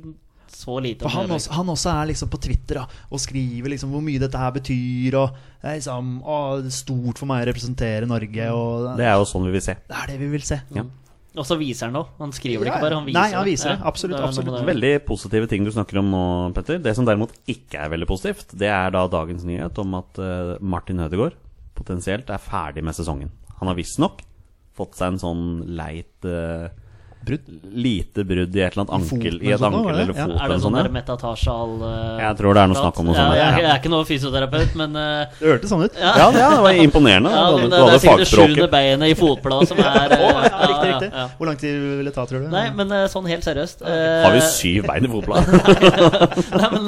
så lite For om han det. også, han også er liksom på Twitter da, og skriver liksom hvor mye dette her betyr. Og det er liksom, å, det er stort for meg å representere Mm. Norge. Og Det det, er jo sånn vi vil se. er det vi vil se. Ja. Og så viser han det òg. Han skriver det Ja, ikke bare, han viser nei, han viser det. Absolutt, er noe med absolutt. det. Veldig positive ting du snakker om nå, Petter. Det som derimot ikke er veldig positivt, det er da dagens nyhet om at eh, Martin Hødegaard potensielt er ferdig med sesongen. Han har visstnok fått seg en sånn leit eh, Brudd. lite brudd i et eller annet I foten ankel, i eller et sånn nå, ankel var det? eller Ja. fot Er det eller sånn sånn. der ja. metatarsal eh, Jeg tror det er noe snakk om noe sånt, <laughs> Ja, jeg, jeg ja. er ikke noe fysioterapeut, men eh, Det hørtes sånn ut. Ja, det ja, det var imponerende. ja, da. Du hadde, men eh, du det, det er hadde sikkert det sjuende fagspråket. beinet i fotbladet som <laughs> er eh, Ja, ja, riktig, ja, riktig. ja. Hvor lang tid vil det ta, tror du? Nei, men eh, sånn helt seriøst Har vi eh, syv bein i fotballen? <laughs> Nei, men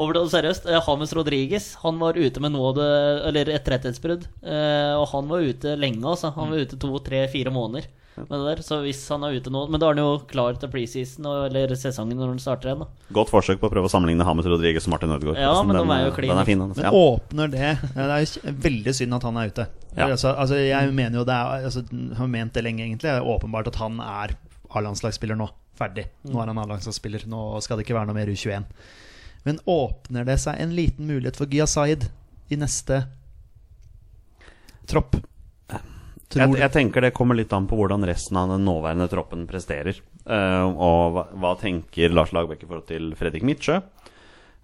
over til det seriøst. eh, James Rodriguez han var ute med noe av det, eller et rettighetsbrudd. eh, Og han var ute lenge, altså. Han var ute to, tre, fire måneder. Med det der. Så hvis han er ute nå Men da er han jo klar til preseason, og- eller sesongen når han starter igjen. da <laughs> Godt forsøk på å prøve å sammenligne Hames Rodriguez og Martin Ødegaard. Ja, Forresten, men de er jo den, klin. den er fin, den. altså. Men Ja. åpner det ja, Det er jo kj- veldig synd at han er ute. Ja. Altså, altså, jeg mener jo det er altså, Jeg har ment det lenge, egentlig. Det er åpenbart at han er A-landslagsspiller nå. Ferdig. Nå er han A-landslagsspiller. Nå skal det ikke være noe mer U21. Men åpner det seg en liten mulighet for Giyas Said i neste tropp? Tror Jeg, du? jeg tenker det kommer litt an på hvordan resten av den nåværende troppen presterer. Eh, og hva, hva tenker Lars Lagbæk i forhold til Fredrik Midtsjø?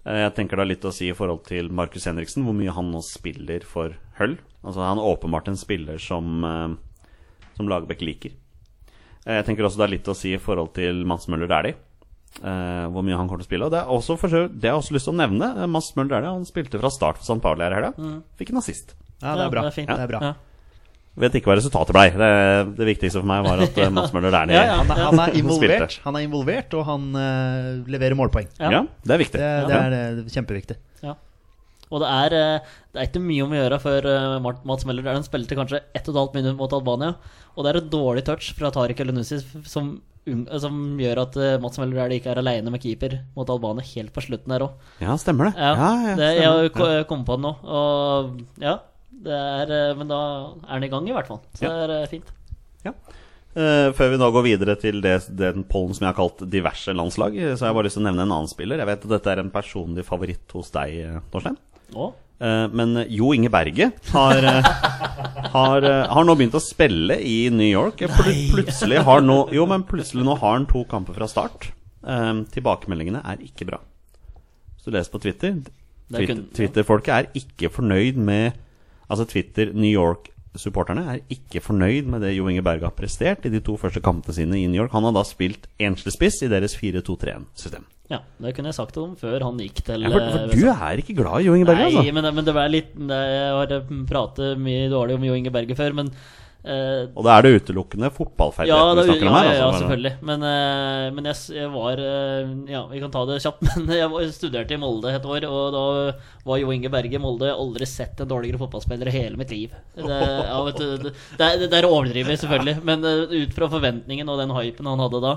Eh, jeg tenker det har litt å si i forhold til Markus Henriksen, hvor mye han nå spiller for Hull. Altså Han er åpenbart en spiller som, eh, som Lagerbäck liker. Eh, jeg tenker også det har litt å si i forhold til Mads Møller Dæhlie. eh, hvor mye han kommer til å spille. Og det er også for, sure- det har jeg også lyst til å nevne. eh, Mads Møller Dæhlie han spilte fra start for St. Pauli her i helga. Fikk en assist. Ja, det er bra. Ja, det er fint. det er bra. Ja. Vet ikke hva resultatet blei. Det, det viktigste for meg var at eh, Mads Møller <laughs> Dæhlie Ja, ja. Han, er, han, er Som spilte. involvert, han er involvert, og han eh, leverer målpoeng. ja. det er viktig. Det, det er eh, kjempeviktig. Ja. Og det er, eh, det er ikke mye om å gjøre før eh, Mart- Mats Meller er den spilte kanskje 1,5 minutt mot Albania. Og det er et dårlig touch fra Tariq Elunussi som, unng- eh, som gjør at eh, Mats Meller er ikke er aleine med keeper mot Albania helt på slutten der òg. Ja, stemmer det. Ja, ja, det- stemmer. jeg ko- kom på det nå. Og ja, det er, eh, men da er han i gang, i hvert fall. Så Ja. det er eh, fint. Ja. Eh, før vi nå går videre til det, den pollen som jeg har kalt diverse landslag, eh, så har jeg bare lyst til å nevne en annen spiller. Jeg vet at dette er en personlig favoritt hos deg, eh, Torstein. Å, Eh, men Jo Inge Berge har, eh, har, eh, har nå begynt å spille i New York. Eh, Pl plutselig har nå Jo, men plutselig nå har han to kamper fra start. Eh, tilbakemeldingene er ikke bra. Hvis du leser på Twitter Det er Twitter- kun- Twitter-folket er ikke fornøyd med Altså Twitter New York-supporterne er ikke fornøyd med det Jo Inge Berge har prestert i de to første kampene sine i New York. Han har da spilt enslig spiss i deres 4-2-3-1-system. ja, det kunne jeg sagt om før han gikk til Ja, For, eh, for du er ikke glad i Jo Inge Berge, altså? Nei, men, men det var litt det- Jeg har eh, pratet mye dårlig om Jo Inge Berge før, men eh, Og da er det utelukkende ja, fotballferdigheter det, vi snakker ja, om her. ja, ja, altså. selvfølgelig. Men, eh, men jeg, s- jeg var eh, Ja, vi kan ta det kjapt, <laughs> men jeg var- studerte i Molde et år, og da var Jo Inge Berge i Molde. Jeg har aldri sett en dårligere fotballspiller i hele mitt liv. Det, ja, vet du, det, det, er- det er å overdrive, selvfølgelig, men eh, ut fra forventningen og den hypen han hadde da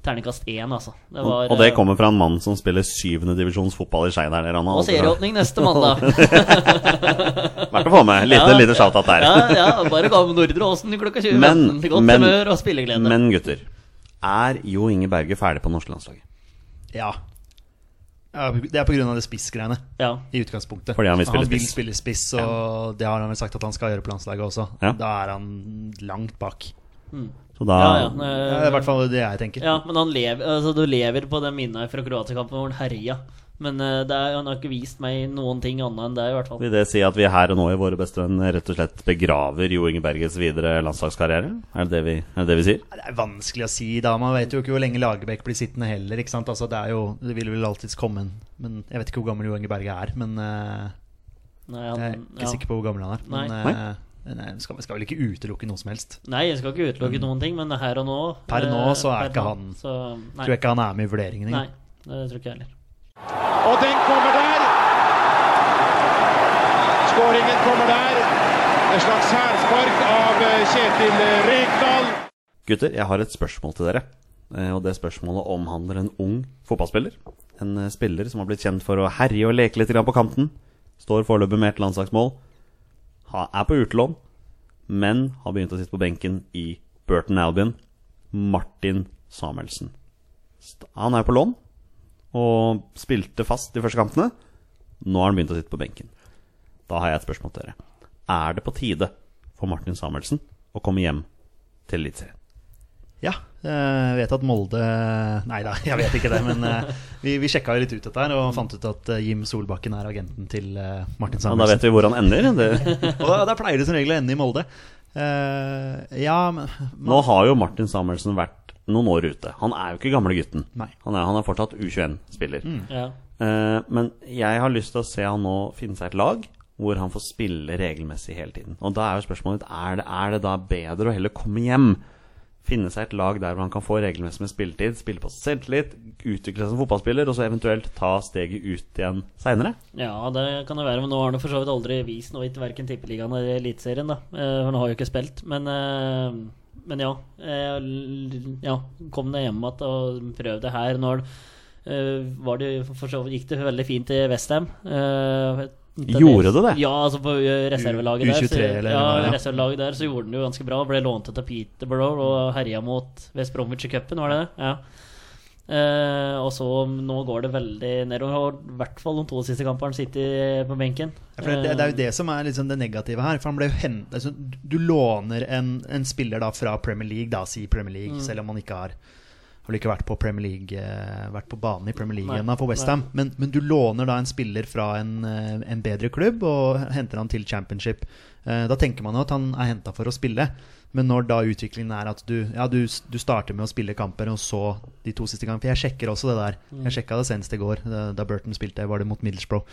Terningkast én, altså. Det var, og det eh, kommer fra en mann som spiller syvendedivisjons fotball i Altså, Skeid her nede. Og serieåpning <laughs> neste mandag. Verdt å få med. Lite, Ja. lite shout-out der. Ja, ja, bare gå med Nordre Åsen klokka 20. Men- Men, godt men- humør og spilleglede. Men gutter, er Jo Inge Berge ferdig på norske landslaget? Ja. ja. Det er pga. det spissgreiene. ja. I utgangspunktet. Fordi han vil spille vil spiss. spille spiss, og det har han vel sagt at han skal gjøre på landslaget også. Ja. Da er han langt bak. Så da Ja, ja. Det eh, er i hvert fall det jeg tenker. ja, men han lever, altså, du lever på det minnet fra Kroatia-kampen hvor han herja. Men eh, det er, han har ikke vist meg noen ting annet enn det, i hvert fall. Vil det si at vi her og nå i Våre beste venn rett og slett begraver Jo Inge Berges videre landslagskarriere? Er det det vi, er det, det vi sier? Det er vanskelig å si, da. Man vet jo ikke hvor lenge Lagerbäck blir sittende heller. Ikke sant? Altså, det, er jo, det vil vel alltids komme en Men Jeg vet ikke hvor gammel Jo Inge Berge er, men eh, Nei, jeg er ikke ja. sikker på hvor gammel han er. Nei. Men, eh, nei, skal, skal vel ikke utelukke noe som helst. Nei, jeg skal ikke utelukke noen ting, men her og nå Mm. Per nå eh, så er per ikke nå, han- Så, nei. Tror jeg ikke han er med i vurderingen. nei, ikke? det tror ikke jeg heller. Og den kommer der. Skåringen kommer der. Et slags hælspark av eh, Kjetil eh, Rekdal. Gutter, jeg har et spørsmål til dere. Eh, Og det spørsmålet omhandler en ung fotballspiller. En eh, spiller som har blitt kjent for å herje og leke litt grann på kanten. Står foreløpig med et landslagsmål. Ha- Er på utlån, men har begynt å sitte på benken i Burton Albion. Martin Samuelsen. St- Han er på lån. og spilte fast de første kampene. Nå har han begynt å sitte på benken. Da har jeg et spørsmål til dere. Er det på tide for Martin Samuelsen å komme hjem til Eliteserien? Ja, eh, jeg vet at Molde Nei da, jeg vet ikke det. Men eh, vi, vi sjekka jo litt ut dette her og fant ut at eh, Jim Solbakken er agenten til eh, Martin Og da Samuelsen. vet vi hvor han ender. Det, <laughs> Og da, da pleier det som regel å ende i Molde. Eh, ja, men nå har jo Martin Samuelsen vært noen år ute. Han er jo ikke gamle gutten. Nei. Han er, han er fortsatt U21-spiller. Ja. Eh, men jeg har lyst til å se han nå finne seg et lag hvor han får spille regelmessig hele tiden. Og da er jo spørsmålet mitt er det, er det da bedre å heller komme hjem, finne seg et lag der hvor han kan få regelmessig med spilletid, spille på selvtillit, utvikle seg som fotballspiller, og så eventuelt ta steget ut igjen seinere? ja, det kan det være. Men nå har han jo for så vidt aldri vist noe i verken Tippeligaen eller Eliteserien, da. Eh, For han har jo ikke spilt. Men, eh, men ja. eh, l- ja. Kom deg hjem igjen og prøv det her. Nå har det- eh, var det, for så vidt gikk det veldig fint i Westham. Gjorde det det? Ja, altså på eh, reservelaget der. U23 så- eller hva det Ja, var, ja. reservelaget der så gjorde han det jo ganske bra. Ble lånt ut av Peterborough og herja mot West Bromwich i cupen, var det det? Ja. Eh, og så nå går det veldig nedover. og I hvert fall de to siste kampene sitter på benken. Ja, for det, det er jo det som er liksom det negative her. For han ble jo hentet, altså, Du låner en, en spiller da fra Premier League, da, si Premier League, Mm. selv om han ikke har har ikke vært på Premier League eh, Vært på banen i Premier League Nei, ennå for Westham. Men, men du låner da en spiller fra en, eh, en bedre klubb og henter han til championship. Eh, Da tenker man jo at han er henta for å spille. Men når da utviklingen er at du, ja, du, du starter med å spille kamper, og så de to siste gangene For jeg sjekker også det der. Mm. Jeg sjekka det senest i går, da- da Burton spilte, var det mot Middlesbrough.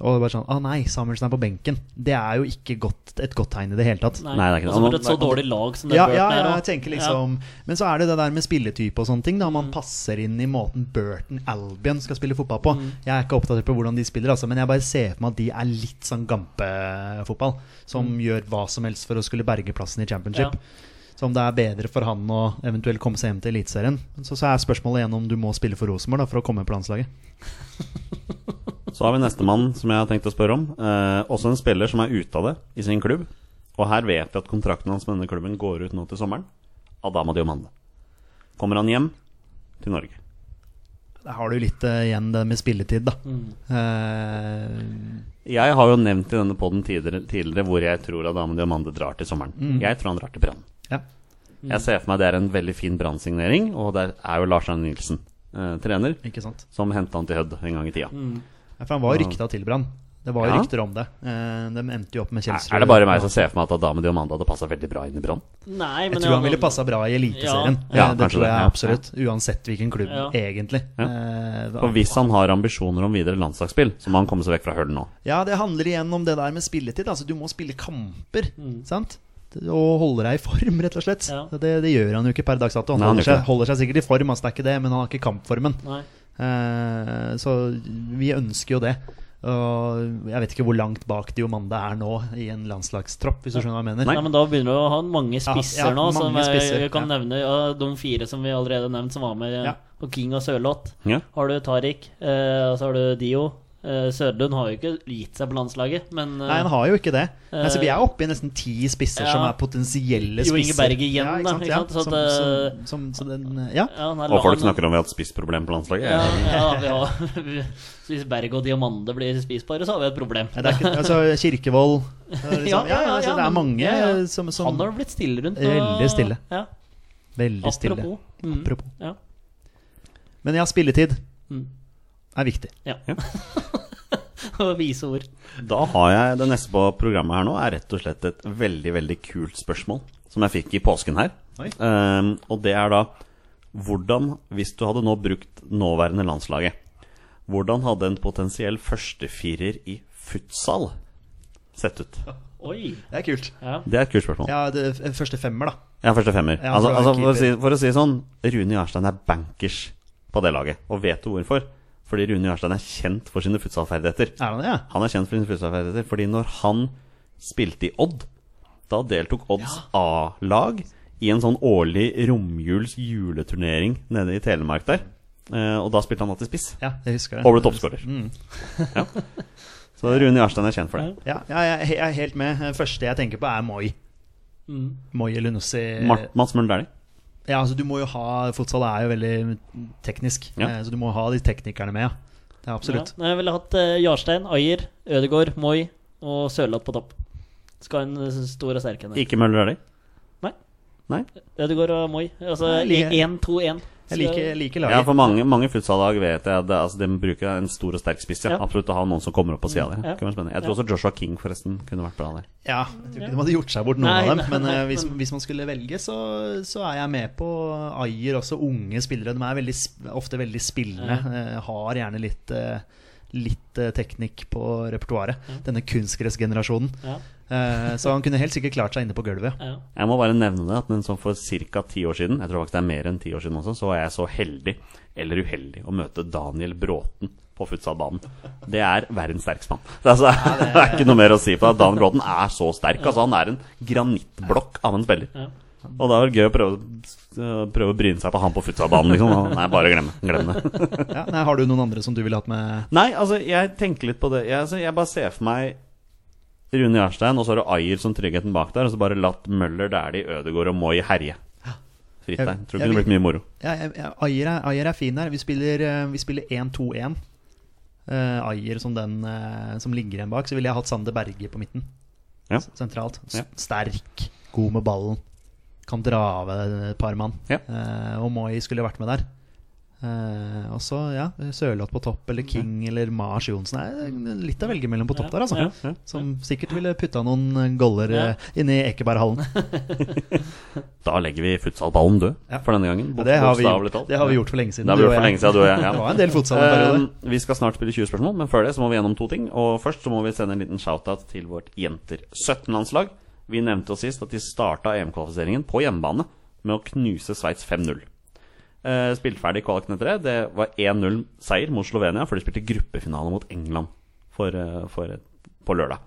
Og det var sånn Å nei, Samuelsen er på benken. Det er jo ikke godt, et godt tegn i det hele tatt. Nei, det er ikke Og så det. Eh, Altså, for et så dårlig lag som det Ja, Burton ja, er ja, nå. jeg tenker liksom Men så er det det der med spilletype og sånne ting. Da Man passer inn i måten Burton Albion skal spille fotball på. Jeg er ikke oppdatert på hvordan de spiller, altså, men jeg bare ser for meg at de er litt sånn gampefotball. Som gjør hva som helst for å skulle berge plassen i championship. Ja. Så om det er bedre for han å eventuelt komme seg hjem til Eliteserien så, så er spørsmålet igjen om du må spille for Rosenborg da, for å komme på landslaget. Så har vi nestemann som jeg har tenkt å spørre om. Eh, også en spiller som er ute av det i sin klubb. Og her vet vi at kontrakten hans med denne klubben går ut nå til sommeren. Adama Diomande. Kommer han hjem til Norge? Der har du litt eh, igjen det med spilletid, da. Mm. Eh, Jeg har jo nevnt i denne poden tidligere, tidligere hvor jeg tror Adama Diomande drar til sommeren. Jeg tror han drar til Brann. ja. Jeg ser for meg det er en veldig fin Brann-signering, og der er jo Lars Arne Nilsen eh, trener, Ikke sant. som henta han til Hødd en gang i tida. Ja, For han var jo rykta til Brann. Det var jo Ja. rykter om det. Eh, De endte jo opp med Er, Kjelsrud. er det bare meg som ser for meg at Adama Diomande hadde passa veldig bra inn i Brann? Nei, men Jeg tror han ja, ville passa bra i Eliteserien. Ja. Ja, Eh, det kanskje tror det, jeg ja. absolutt. Uansett hvilken klubb, Ja. egentlig. Ja. Eh, For hvis han har ambisjoner om videre landslagsspill, så må han komme seg vekk fra Høll nå. Ja, det handler igjen om det der med spilletid. Altså, du må spille kamper, sant? Og holde deg i form, rett og slett. Mm. Ja. Det, det gjør han jo ikke per dags dato. Han Nei, han holder gjør ikke seg, holder seg sikkert i form, altså, det er ikke det, men han har ikke kampformen. Nei. Eh, så vi ønsker jo det. Og jeg vet ikke hvor langt bak Diomande er nå i en landslagstropp, hvis du skjønner hva jeg mener. Nei, men da begynner du å ha mange Ja, spisser ja, nå. mange Som jeg, spisser, jeg kan ja. nevne ja, de fire som vi allerede har nevnt, som var med. eh, Ja. Og King og Sørloth. Ja. Har du Tariq, eh, og så har du Dio. Eh, Sødlund har jo ikke gitt seg på landslaget, men eh, Nei, han har jo ikke det. Nei, så vi er Eh, oppe i nesten ti spisser ja. som er potensielle Jo spisser. Inge Berg igjen, da, ikke Ja, sant? Så at, eh, som, som, som, så den, eh, ja. ja, han er Og folk lang- snakker om vi har hatt spissproblem på landslaget. Ja, ja vi har, så hvis Berg og Diamande blir spisbare, så har vi et problem. Nei, Det er ikke, <laughs> altså, Kirkevold liksom, ja, ja, altså, Det men- er mange ja, ja. som, Han som har blitt stille rundt. Veldig stille. Ja, Veldig stille. apropos. Mm, Apropos. Ja. <laughs> Men ja, spilletid Mm. er viktig. Og vise ord. Da har jeg det neste på programmet her nå, er rett og slett et veldig, veldig kult spørsmål som jeg fikk i påsken her. Oi. Ehm, og det er da hvordan, hvis du hadde nå brukt nåværende landslaget, hvordan hadde en potensiell førstefirer i futsal sett ut? Oi. Det er kult. Ja. Det er et kult spørsmål. Ja, Ja, det, f- første femmer, da. første femmer. Ja, altså, fra altså, for, å si, keeper. for å si det sånn, Rune Jarstein er bankers på det laget. Og vet du hvorfor? Fordi Rune Jarstein er kjent for sine futsalferdigheter. Er han det, ja? Han er kjent for sine futsalferdigheter, fordi når han spilte i Odd, da deltok Odds A-lag i en sånn årlig romjuls juleturnering nede i Telemark der. Eh, og da spilte han alltid spiss, Ja, jeg husker det. og ble toppskårer. Mm. Ja. Så Rune Jarstein er kjent for det. Ja, ja jeg, jeg er helt med. Første jeg tenker på, er Moi. Mm. Moi Elunussi. Mart, Mats Møller Dæhlie. Ja, altså du må jo ha Fotsal er jo veldig teknisk, Ja. eh, så du må ha de teknikerne med. Ja, ja absolutt. Ja. Nei, jeg ville hatt eh, Jarstein, Ajer, Ødegaard, Moi og Sørloth på topp. Skal ha en eh, stor og sterk en. der. Ikke Møller Dæhlie? Nei. Nei? Ødegaard og Moi. Altså Jeg liker- 1-2-1. Jeg liker, liker Ja, laget. for mange, mange futsallag vet jeg at det- altså, de bruker en stor og sterk spiss. Ja. Ja. Absolutt å ha noen som kommer opp på sida der. Ja. Det kan være spennende. Jeg tror Ja. også Joshua King forresten kunne vært bra der. Ja, jeg tror ikke de hadde gjort seg bort, noen Nei, av dem. Men nei, eh, nei, hvis, men- hvis man skulle velge, så, så er jeg med på Ayer. Også unge spillere. De er veldig, sp- ofte veldig spillende. eh, Har gjerne litt, eh, litt eh, teknikk på repertoaret. Denne kunstgressgenerasjonen. Ja, Eh, Så han kunne helt sikkert klart seg inne på gulvet. ja. Jeg må bare nevne det at men sånn for ca. ti år siden, jeg tror faktisk det er mer enn ti år siden også, så var jeg så heldig, eller uheldig, å møte Daniel Bråten på futsalbanen. Det er verdens sterkeste mann. Det er, altså, <laughs> det er ikke noe mer å si på det. Daniel Bråten er så sterk. Altså, han er en granittblokk av en spiller. Ja. Og det er vel gøy å prøve, prøve å bryne seg på han på futsalbanen, liksom. Og Nei, bare glem, det. glem det. Ja, nei, har du noen andre som du ville hatt med? Nei, altså, jeg tenker litt på det. Jeg, altså, jeg bare ser for meg Rune Jarstein, og så har du Ayer som tryggheten bak der, og så bare latt Møller, Dæhlie, Ødegaard og Moi herje. Fritt Jeg- der. jeg Tror ikke det vil- blitt mye moro. Ja, jeg- jeg- Ayer er, Ayer er fin her. Vi spiller, eh, vi spiller 1-2-1. Eh, Ayer som den eh, som ligger igjen bak. Så ville jeg hatt Sander Berge på midten. Ja. S- Sentralt. S Ja. Sterk, god med ballen. Kan dra av et par mann. Ja. Eh, og Moi skulle vært med der. Eh, og så, ja, Sørloth på topp, eller King eller Mars Johnsen. Det er Litt å velge mellom på topp der, altså. Ja, ja. Som sikkert ville putta noen goller Ja. eh, inn i Ekeberghallen. Da legger vi futsalballen død Ja. for denne gangen. Det har, vi bokstavelig gjort, talt. det har vi gjort for lenge siden. Det har du vi og gjort for jeg. lenge siden, du og <laughs> jeg. Det Ja. var en del fotsal en periode. Eh, vi skal snart spille 20 spørsmål, men før det så må vi gjennom to ting. Og først så må vi sende en liten shout-out til vårt Jenter 17-landslag. Vi nevnte jo sist at de starta EM-kvalifiseringen på hjemmebane med å knuse Sveits 5-0. Eh, spilte ferdig kvaliken etter det. Det var 1-0-seier mot Slovenia, for de spilte gruppefinale mot England for, eh, for, på lørdag.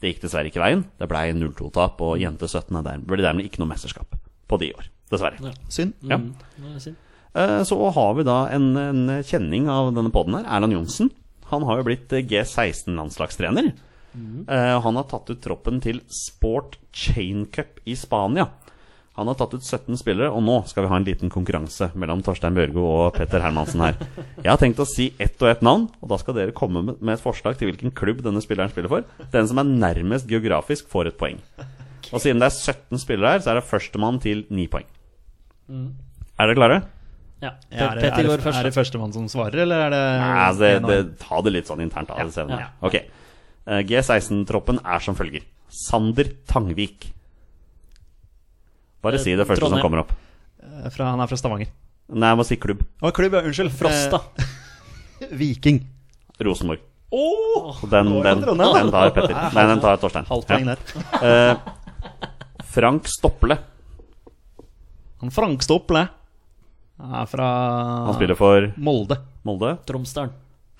Det gikk dessverre ikke veien. Det ble 0-2-tap, og Jenter 17 er der, ble dermed ikke noe mesterskap på de i år. Dessverre. Synd. Ja. Mm, det er synd. Eh, Så har vi da en, en kjenning av denne podden her, Erland Johnsen. Han har jo blitt eh, G16-landslagstrener. Eh, Han har tatt ut troppen til Sport Chain Cup i Spania. Han har tatt ut 17 spillere, og nå skal vi ha en liten konkurranse mellom Torstein Børgo og Petter Hermansen her. Jeg har tenkt å si ett og ett navn, og da skal dere komme med med et forslag til hvilken klubb denne spilleren spiller for. Den som er nærmest geografisk, får et poeng. Og siden det er 17 spillere her, så er det førstemann til 9 poeng. Er dere klare? Ja. Ja, er, det, Petter er, går det, først. er det førstemann som svarer, eller er det Nei, altså, det, en av- det, ta det litt sånn internt. Da, det ser vi nå. ja. Ok. Eh, G16-troppen er som følger. Sander Tangvik. Bare Eh, si det første som Trondheim. kommer opp. Eh, fra, Han er fra Stavanger. Nei, jeg må si klubb. Å, klubb, ja. Unnskyld. Frosta. Eh, Viking. Rosenborg. Åh! Den, Nå er den, det Trondheim, da. den tar Petter. Nei, den tar Torstein. Halvt Ja. poeng der. Frank Stopple. Han Frank Stopple er fra Han spiller for Molde. Molde. Tromsdalen.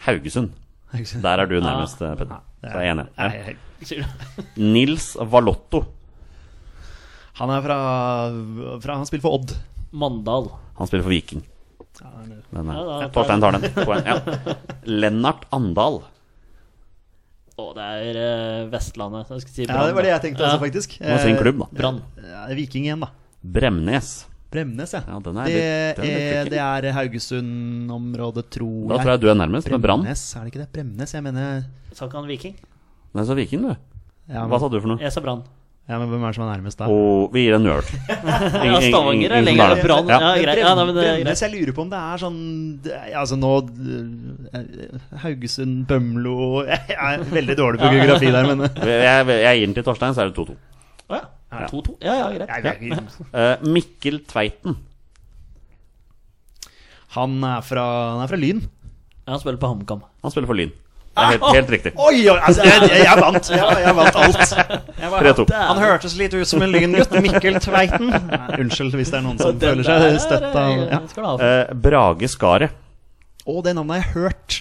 Haugesund. Der er du nærmest, eh, Petter. Så er jeg enig. Nei, Ja. jeg- Sier du? Nils Valotto. Han er fra, fra Han spiller for Odd. Mandal. Han spiller for Viking. Den er. Ja, da, Ja, Torstein tar den. Poeng, Ja. Lennart Andal. Å, det er eh, Vestlandet. så Jeg skulle si Ja, det var det jeg tenkte også, Ja. faktisk. Må si en klubb, da. Brann. Eh, Viking igjen, da. Bremnes. Bremnes, ja. Ja, den er litt- det, den er er, litt det er Haugesund-området, tror Da tror jeg du er nærmest, med Brann. Bremnes, er det ikke det? Bremnes, jeg mener Sa ikke han Viking? Nei, så Viking, du. ja, Hva men, sa du for noe? Jeg sa Brann. ja, men Hvem er det som er nærmest da? Og vi gir en <laughs> nøl. Ingen- Ja, ingen- Stavanger er ingen lenger som enn Brann. Ja. Ja, greit. Ja, nei, men det er Bremnes, greit. jeg lurer på om det er sånn det er- Altså nå eh, Haugesund, Bømlo <laughs> Jeg er veldig dårlig på geografi der, men eh, Jeg, jeg gir den til Torstein, så er det 2-2. Å ja. 2-2. Ja, ja, greit. jeg- jeg- Eh, Mikkel Tveiten. han, er fra, han er fra Lyn. Ja, han spiller på HamKam. Han spiller for Lyn. Det er helt, Ah! helt riktig. Oi, oi, altså, jeg, jeg, jeg vant! Jeg, jeg vant alt. Jeg var- Ah, 3-2. han hørtes litt ut som en lyngutt. Mikkel Tveiten. Nei, Unnskyld hvis det er noen som Den føler seg der, støtt av eh, ja. Skal du ha for. Eh, Brage Skaret. Å, det navnet har jeg hørt.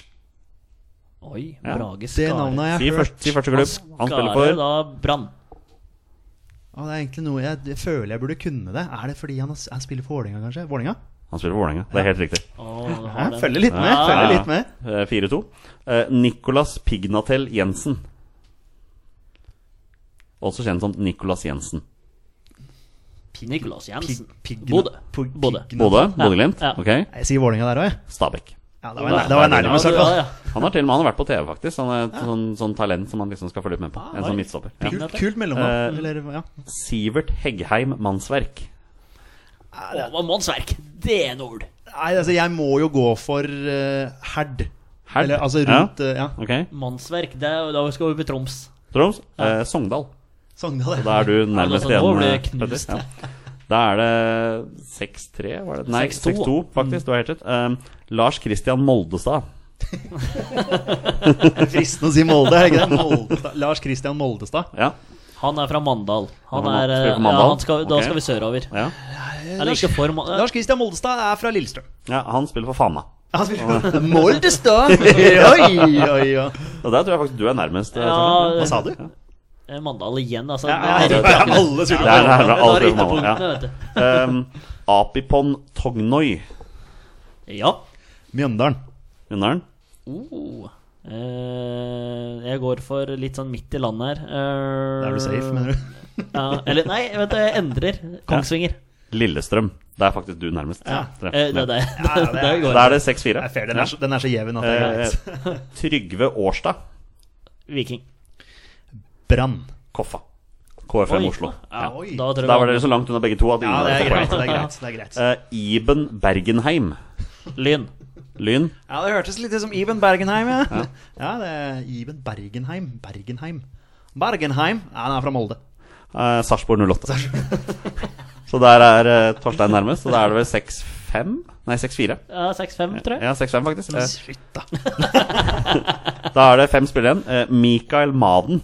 Oi, Brage Det Skare. navnet har Si jeg hørt. først- si første klubb. Han spiller Skare, for da Brann. Å, det er egentlig noe jeg, jeg føler jeg burde kunne det. Er det fordi han, har- han spiller for Vålerenga, kanskje? Vålinga? Han spiller for Vålerenga. Det er helt riktig. Å, du har Jeg den. følger litt med. Ja. Følger litt med. Eh, 4-2. Eh, Nicolas Pignatel Jensen. Også kjent som Nicolas Jensen. Nicolas Jensen. Pig- piggen- Bodø. Pig- Bodø. piggen- Bodø? Ja. Bodø-Glimt? Ja. Ok. Nei, Jeg sier Vålinga der òg, jeg. Stabæk. Ja, det var, var det var nær- det var nærmest, i hvert Ja, fall. ja. Han har til og med han har vært på TV, faktisk. Han er et sånn, sånn talent som man liksom skal følge med på. En oi. sånn midtstopper. Ja. Piggen. Kult, kult Eh, mellomnavn. eller, ja. Sivert Heggheim Mannsverk. Å, hva Mannsverk! Det er en ord! Nei, altså, jeg må jo gå for eh, Herd. Herd? Eller altså rundt eh, ja. Ok. Mannsverk, det er, da skal vi opp i Troms. Troms? Eh, Sogndal. Sogndal. Da er du nærmest altså, igjen, eh, nå blir jeg Petter. knust. Ja. Da er det 6-3, var det? Nei, 6-2. 6-2, Mm. faktisk. Du har helt rett. Um, Lars Christian Moldestad. Det er <laughs> fristende å si Molde. Er det <laughs> ikke det? Moldestad. Lars Christian Moldestad. Ja. Han er fra Mandal. Han Han er, er fra eh, Mandal? Ja, han skal, da Ok. skal vi sørover. ja. Eller ikke for Ma- Lars Christian Moldestad er fra Lillestrøm. ja han spiller for Fana. Han spiller <laughs> <laughs> Moldestad! Oi, oi, oi. Og der tror jeg faktisk du er nærmest. eh, Ja, Torstein. Hva sa du? eh, Mandal igjen, altså. Ja, ja, Det er- ja, alle Det skulle er nærmere Da er alt det for Mandal. ytterpunktene, Ja. vet du. Um, Apipon Tognoi. Ja. Mjøndalen. Vinneren. Oh. Eh, jeg går for litt sånn midt i landet her. Eh, Da er du safe, <laughs> mener du? Ja, eller nei, vent, jeg endrer. Kongsvinger. Lillestrøm. Det er faktisk du nærmest. Ja. Tre. Eh, det Ja. er det. <laughs> ja, det er- det går. Da er det Det er 6-4. fair. Den er, så- den er så jevn at det er Eh, greit. Trygve Årstad. Viking. Brann. Koffa. KFM Oi. Oslo. Ja, Oi. da tror jeg Der var dere så langt unna begge to at ingen Ja, det av er dere greit. får det poeng. er greit, det er greit. Eh, Iben Bergenheim. Lyn. Lyn. Ja, Det hørtes litt ut som Iben Bergenheim. Ja, <laughs> ja. det er Iben Bergenheim. Bergenheim. Bergenheim. Ja, han er fra Molde. Eh, Sarpsborg 08. <laughs> så der er eh, Torstein nærmest. Så da er det vel 6-5? Nei, 6-4. Ja, 6-5, tror jeg. Ja, 6-5 faktisk. Eh, Slutt, da. da er det fem spillere igjen. Eh, Mikael Maden.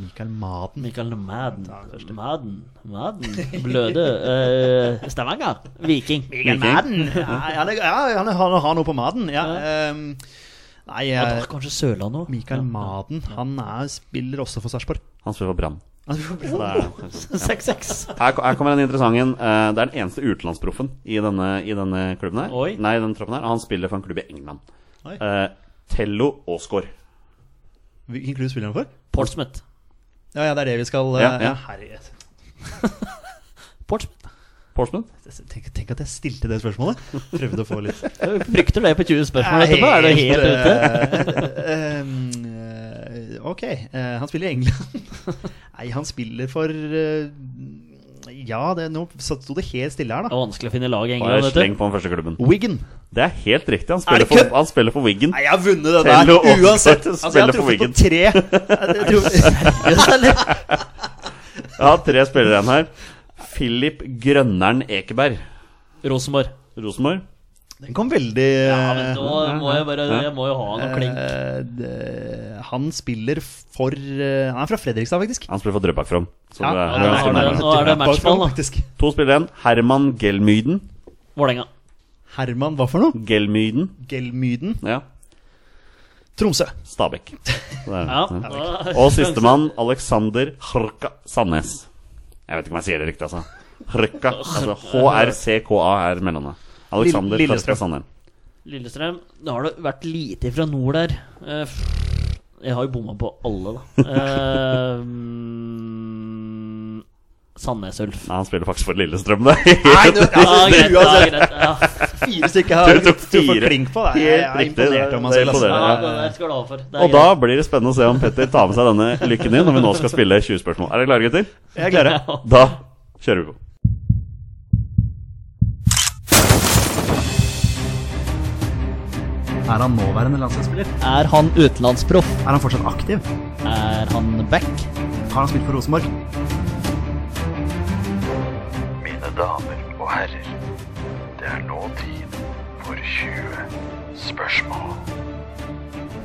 Mikael Maden. Michael Madden. Madden. <laughs> Madden. Bløde. Eh, Stavanger. Viking. Mikael Maden. Ja, han, er, ja, han er- han har noe på Maden. Ja. ehm, nei, Ja, eh, da, kanskje Sørlandet òg. Mikael <laughs> Maden Han er, spiller også for Sarpsborg. Han spiller for Brann. Han spiller for Så Brann. det er- 6-6. Her, ko- her kommer den interessante. en. Eh, det er den eneste utenlandsproffen i denne, i denne klubben her. Oi. Nei, i denne troppen her. Han spiller for en klubb i England. Oi. Eh, Tello Aasgaard. Hvilken klubb spiller han for? Portsmouth. Ja, ja, det er det vi skal eh, Ja, ja. herregud. Portsmouth. Porsgrunn? Tenk, tenk at jeg stilte det spørsmålet. Prøvde å få <laughs> litt Jeg Frykter det på 20 spørsmål etterpå? Er det helt ute? eh, eh, eh, ok, eh, han spiller i England. <laughs> Nei, han spiller for eh, Ja, det, nå satt- sto det helt stille her, Det da. er vanskelig å finne lag Og i jeg England, sleng vet du. på den første klubben. Wiggen. Det er helt riktig. Han Er spiller det for, kødd? han spiller for Wiggen. Nei, jeg har vunnet det Tello der Oscar uansett. Altså, jeg spiller har for truffet Wigan. på tre. Jeg tror- <laughs> Seriøst, eller? Jeg har tre spillere igjen her. Philip Grønnern Ekeberg. Rosenborg. Eh, Rosenborg. Den kom veldig Ja, men nå må jeg bare Jeg må jo ha noe klink. eh, det- Han spiller for eh, Han er fra Fredrikstad, faktisk. Han spiller for Drøbak From. Så Ja, ja, det er men ganske har nærme. det- nå er det matchball, da. faktisk. To spillere igjen. Herman Gelmyden. Vålerenga. Herman, hva for noe? Gelmyden. Gelmyden. Ja. Tromsø. Stabæk. Så det er- Ja. ja. da- Og sistemann Alexander Hrka Sandnes. Jeg vet ikke om jeg sier det riktig, altså. Hrka. Altså H-R-C-K-A er mellomnavnet. Alexander Lille- Hrka Lillestrøm. Sandnes. <laughs> Lillestrøm. Nå har det vært lite fra nord der. Eh, pff, Jeg har jo bomma på alle, da. Eh, mm, Sandnes Ulf. Nei, han spiller faktisk for Lillestrøm, det. Nei, du, altså, Ja, greit, ja, uansett. greit. Ja. Fire stykker her. Du tok Du får fire. klink på det. Jeg, jeg Helt er riktig, det- imponert om han det er selv. altså. imponerende. Ja, det der skal du ha for. Det <laughs> er Og da blir det spennende å se om Petter tar med seg denne lykken din når vi nå skal spille 20 spørsmål. Er dere klare, gutter? Jeg er klare. greit. Da kjører vi på. Er han nåværende landslagsspiller? <laughs> Er han utenlandsproff? Er han fortsatt aktiv? Er han back? Har han spilt for Rosenborg? Mine damer og herrer, det er nå tid for 20 spørsmål.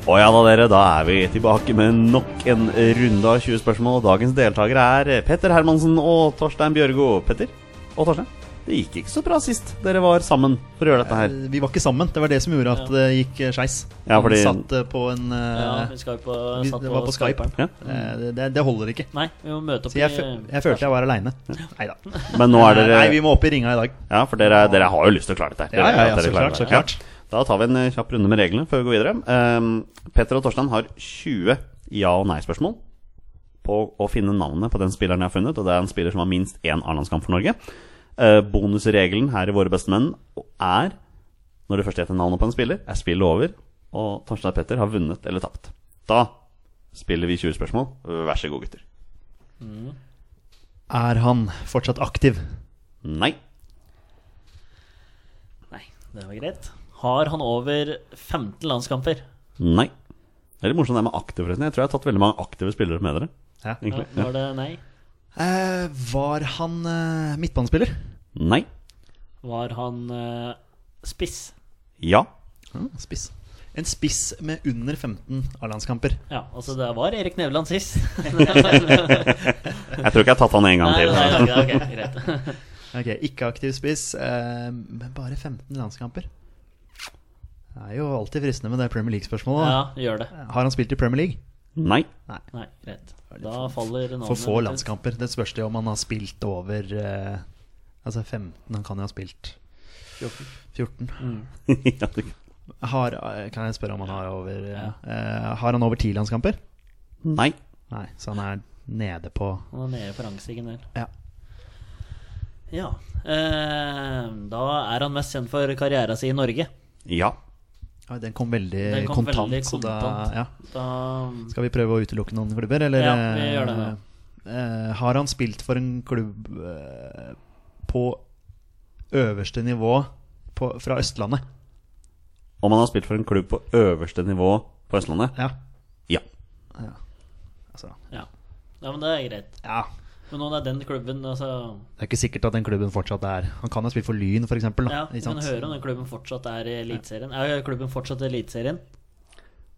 Og ja da, dere, da er vi tilbake med nok en runde av 20 spørsmål. Dagens deltakere er Petter Hermansen og Torstein Bjørgo. Petter og Torstein, det gikk ikke så bra sist dere var sammen for å gjøre dette her. Vi var ikke sammen. Det var det som gjorde at det gikk eh, skeis. Ja, fordi- Han satt eh, på en eh, Ja, vi skal jo på, vi- satt Det var på Skype. Skyperen. Ja. Eh, det- Det, det holder ikke. Nei, vi må møte opp Så jeg, i fø- jeg følte jeg var aleine. Nei da. Men nå er dere Nei, vi må opp i ringa i dag. Ja, for dere, dere har jo lyst til å klare dette. her. Ja, ja, Dere vet ja, at så dere klarer klart. Så det. klart. Da tar vi en eh, kjapp runde med reglene før vi går videre. Ehm, Petter og Torstein har 20 ja- og nei-spørsmål. på å finne navnet på den spilleren jeg har funnet, og det er en spiller som har minst én A-landskamp for Norge. Eh, bonusregelen her i Våre beste menn er, når du først gjetter navnet på en spiller, er spillet over, og Torstein Petter har vunnet eller tapt. Da spiller vi 20 spørsmål. Vær så god, gutter. Er han fortsatt aktiv? Nei. Nei, det var greit. Har han over 15 landskamper? Nei. Det er litt morsomt det med aktiv, forresten. Jeg tror jeg har tatt veldig mange aktive spillere med dere. Ja. Ja, egentlig. Ja. var det nei? Eh, var han eh, midtbanespiller? Nei. Var han eh, spiss? Ja. spiss. En spiss med under 15 A-landskamper. Ja, altså det var Erik Nevland sist. <laughs> Jeg tror ikke jeg har tatt han en gang Nei, til. nei, ok, ok, greit. Ok, Ikke aktiv spiss, eh, men bare 15 landskamper. Det er jo alltid fristende med det Premier League-spørsmålet. Ja, gjør det. da. Har han spilt i Premier League? Nei. Nei, greit. Da faller navnet For få mitt ut. landskamper. Det spørs det om han har spilt over eh, Altså 15, han kan jo ha spilt 14. <laughs> Ja, det- Har, eh, kan jeg spørre om han har over eh, eh, Har han over 10 landskamper? Nei. Nei, så han er nede på Han er nede på rangstigen der. Ja. Ja. Eh, da er han mest kjent for karrieren sin i Norge. Ja. Oi, Den kom veldig Den kom kontant. veldig så da, kontant. ja. Da Skal vi prøve å utelukke noen klubber, eller? Ja, vi gjør det, ja. eh, eh, har han spilt for en klubb eh, på øverste nivå på, fra Østlandet? Om han har spilt for en klubb på øverste nivå på Østlandet? Ja. Ja. Altså, Ja. ja, men det er greit. ja. Men nå er den klubben altså, Det er ikke sikkert at den klubben fortsatt er Han kan ha spilt for Lyn, f.eks. Ja, Vi kan høre om den klubben fortsatt er i Eliteserien. Er klubben fortsatt i Eliteserien?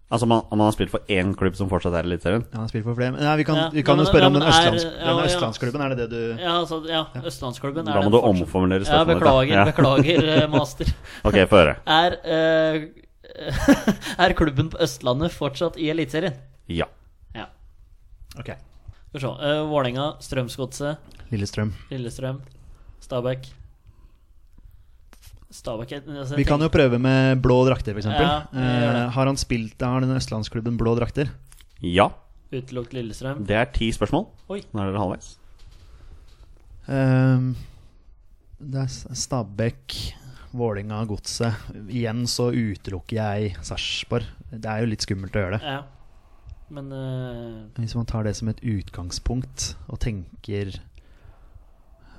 Altså om han, om han har spilt for én klubb som fortsatt er i Eliteserien? Han har spilt for flere men- Nei, vi kan, Ja, vi kan men- jo spørre om men den, er- østlands, ja, den ja. østlandsklubben, er det det du Ja, altså, ja, Østlandsklubben. er Da må den du fortsatt- omformulere Ja, spørsmålet. beklager, ja. <laughs> beklager, eh, master. Ok, få høre. Er, eh, <laughs> er klubben på Østlandet fortsatt i Eliteserien? Ja. Ja. Ok. Skal vi se. Eh, Vålerenga, Strømsgodset, Lillestrøm. Lillestrøm, Stabæk. Stabæk jeg- altså, jeg Vi kan jo prøve med blå drakter, f.eks. Ja, vi gjør det. Eh, har han spilt Har den østlandsklubben blå drakter? Ja. tenker Utelukket Lillestrøm. Det er ti spørsmål. Oi. Nå er dere halvveis. Ehm, det er S- Stabæk, Vålinga, Godset. Igjen så utelukker jeg Sarpsborg. Det er jo litt skummelt å gjøre det. Ja. Men eh, Hvis man tar det som et utgangspunkt og tenker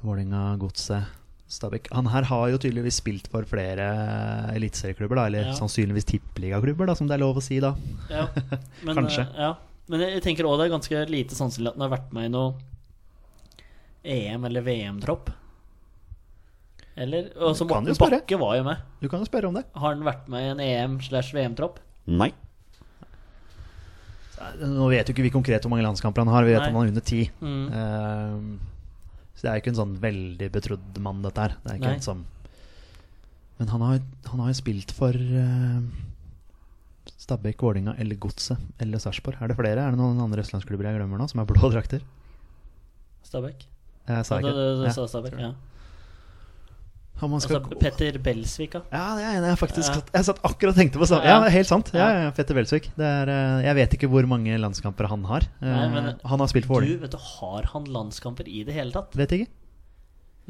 Vålinga, Godset, Stabæk Han her har jo tydeligvis spilt for flere eliteserieklubber, da. Eller Ja. sannsynligvis tippeligaklubber, da, som det er lov å si da. <laughs> Ja, men, Kanskje. eh, Ja. Men jeg jeg tenker òg det er ganske lite sannsynlig at den har vært med i noe EM- eller VM-tropp. Eller Og så Det kan du Morten spørre. Bakke var jo med. Du kan jo spørre om det. Har han vært med i en EM- slash VM-tropp? Nei. Nå vet jo ikke vi konkret hvor mange landskamper han har. Vi vet Nei. om han er under ti. Mm. Ehm, så det er jo ikke en sånn veldig betrodd mann, dette her. Det er ikke Nei. en som Men han har, jo- han har jo spilt for uh, Stabæk, Vålinga eller Godset eller Sarpsborg. Er det flere? Er det noen andre østlandsklubber jeg glemmer nå, som er blå drakter? Stabæk? Jeg sa Ja, ikke det, det, det Ja. sa Stabæk, ja. Om han skal Altså, gå- Petter Belsvik, ja. Ja, det er jeg enig i. Jeg faktisk Ja. satt- Jeg satt akkurat og tenkte på det samme. Ja. Ja, det er helt sant. Ja, Ja. ja, Petter Welsvik. Det er, eh, Jeg vet ikke hvor mange landskamper han har. Nei, Eh, men- han har spilt for Du, Vålinga. vet du, har han landskamper i det hele tatt? Vet ikke.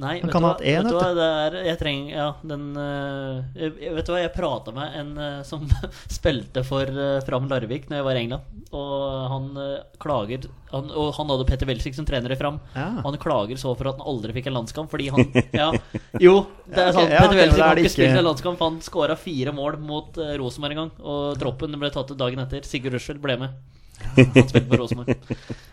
Nei, Han vet kan du ha hva? hatt en, vet du vet hva, det er, jeg trenger, ja, den eh, jeg, jeg- Vet du hva, jeg prata med en eh, som <laughs> spilte for eh, Fram Larvik når jeg var i England, og han eh, klager han, Og han hadde Petter Welsvik som trener i Fram. Ja. Og han klager så for at han aldri fikk en landskamp, fordi han <laughs> Ja, jo, det Ja, ok, er sant. ja, ok, Petter men Welsvik da er har det ikke spilt ikke- en landskamp. Han skåra fire mål mot eh, Rosenborg en gang, og troppen ble tatt ut dagen etter. Sigurd Rushfeldt ble med. Han spilte på Rosenborg.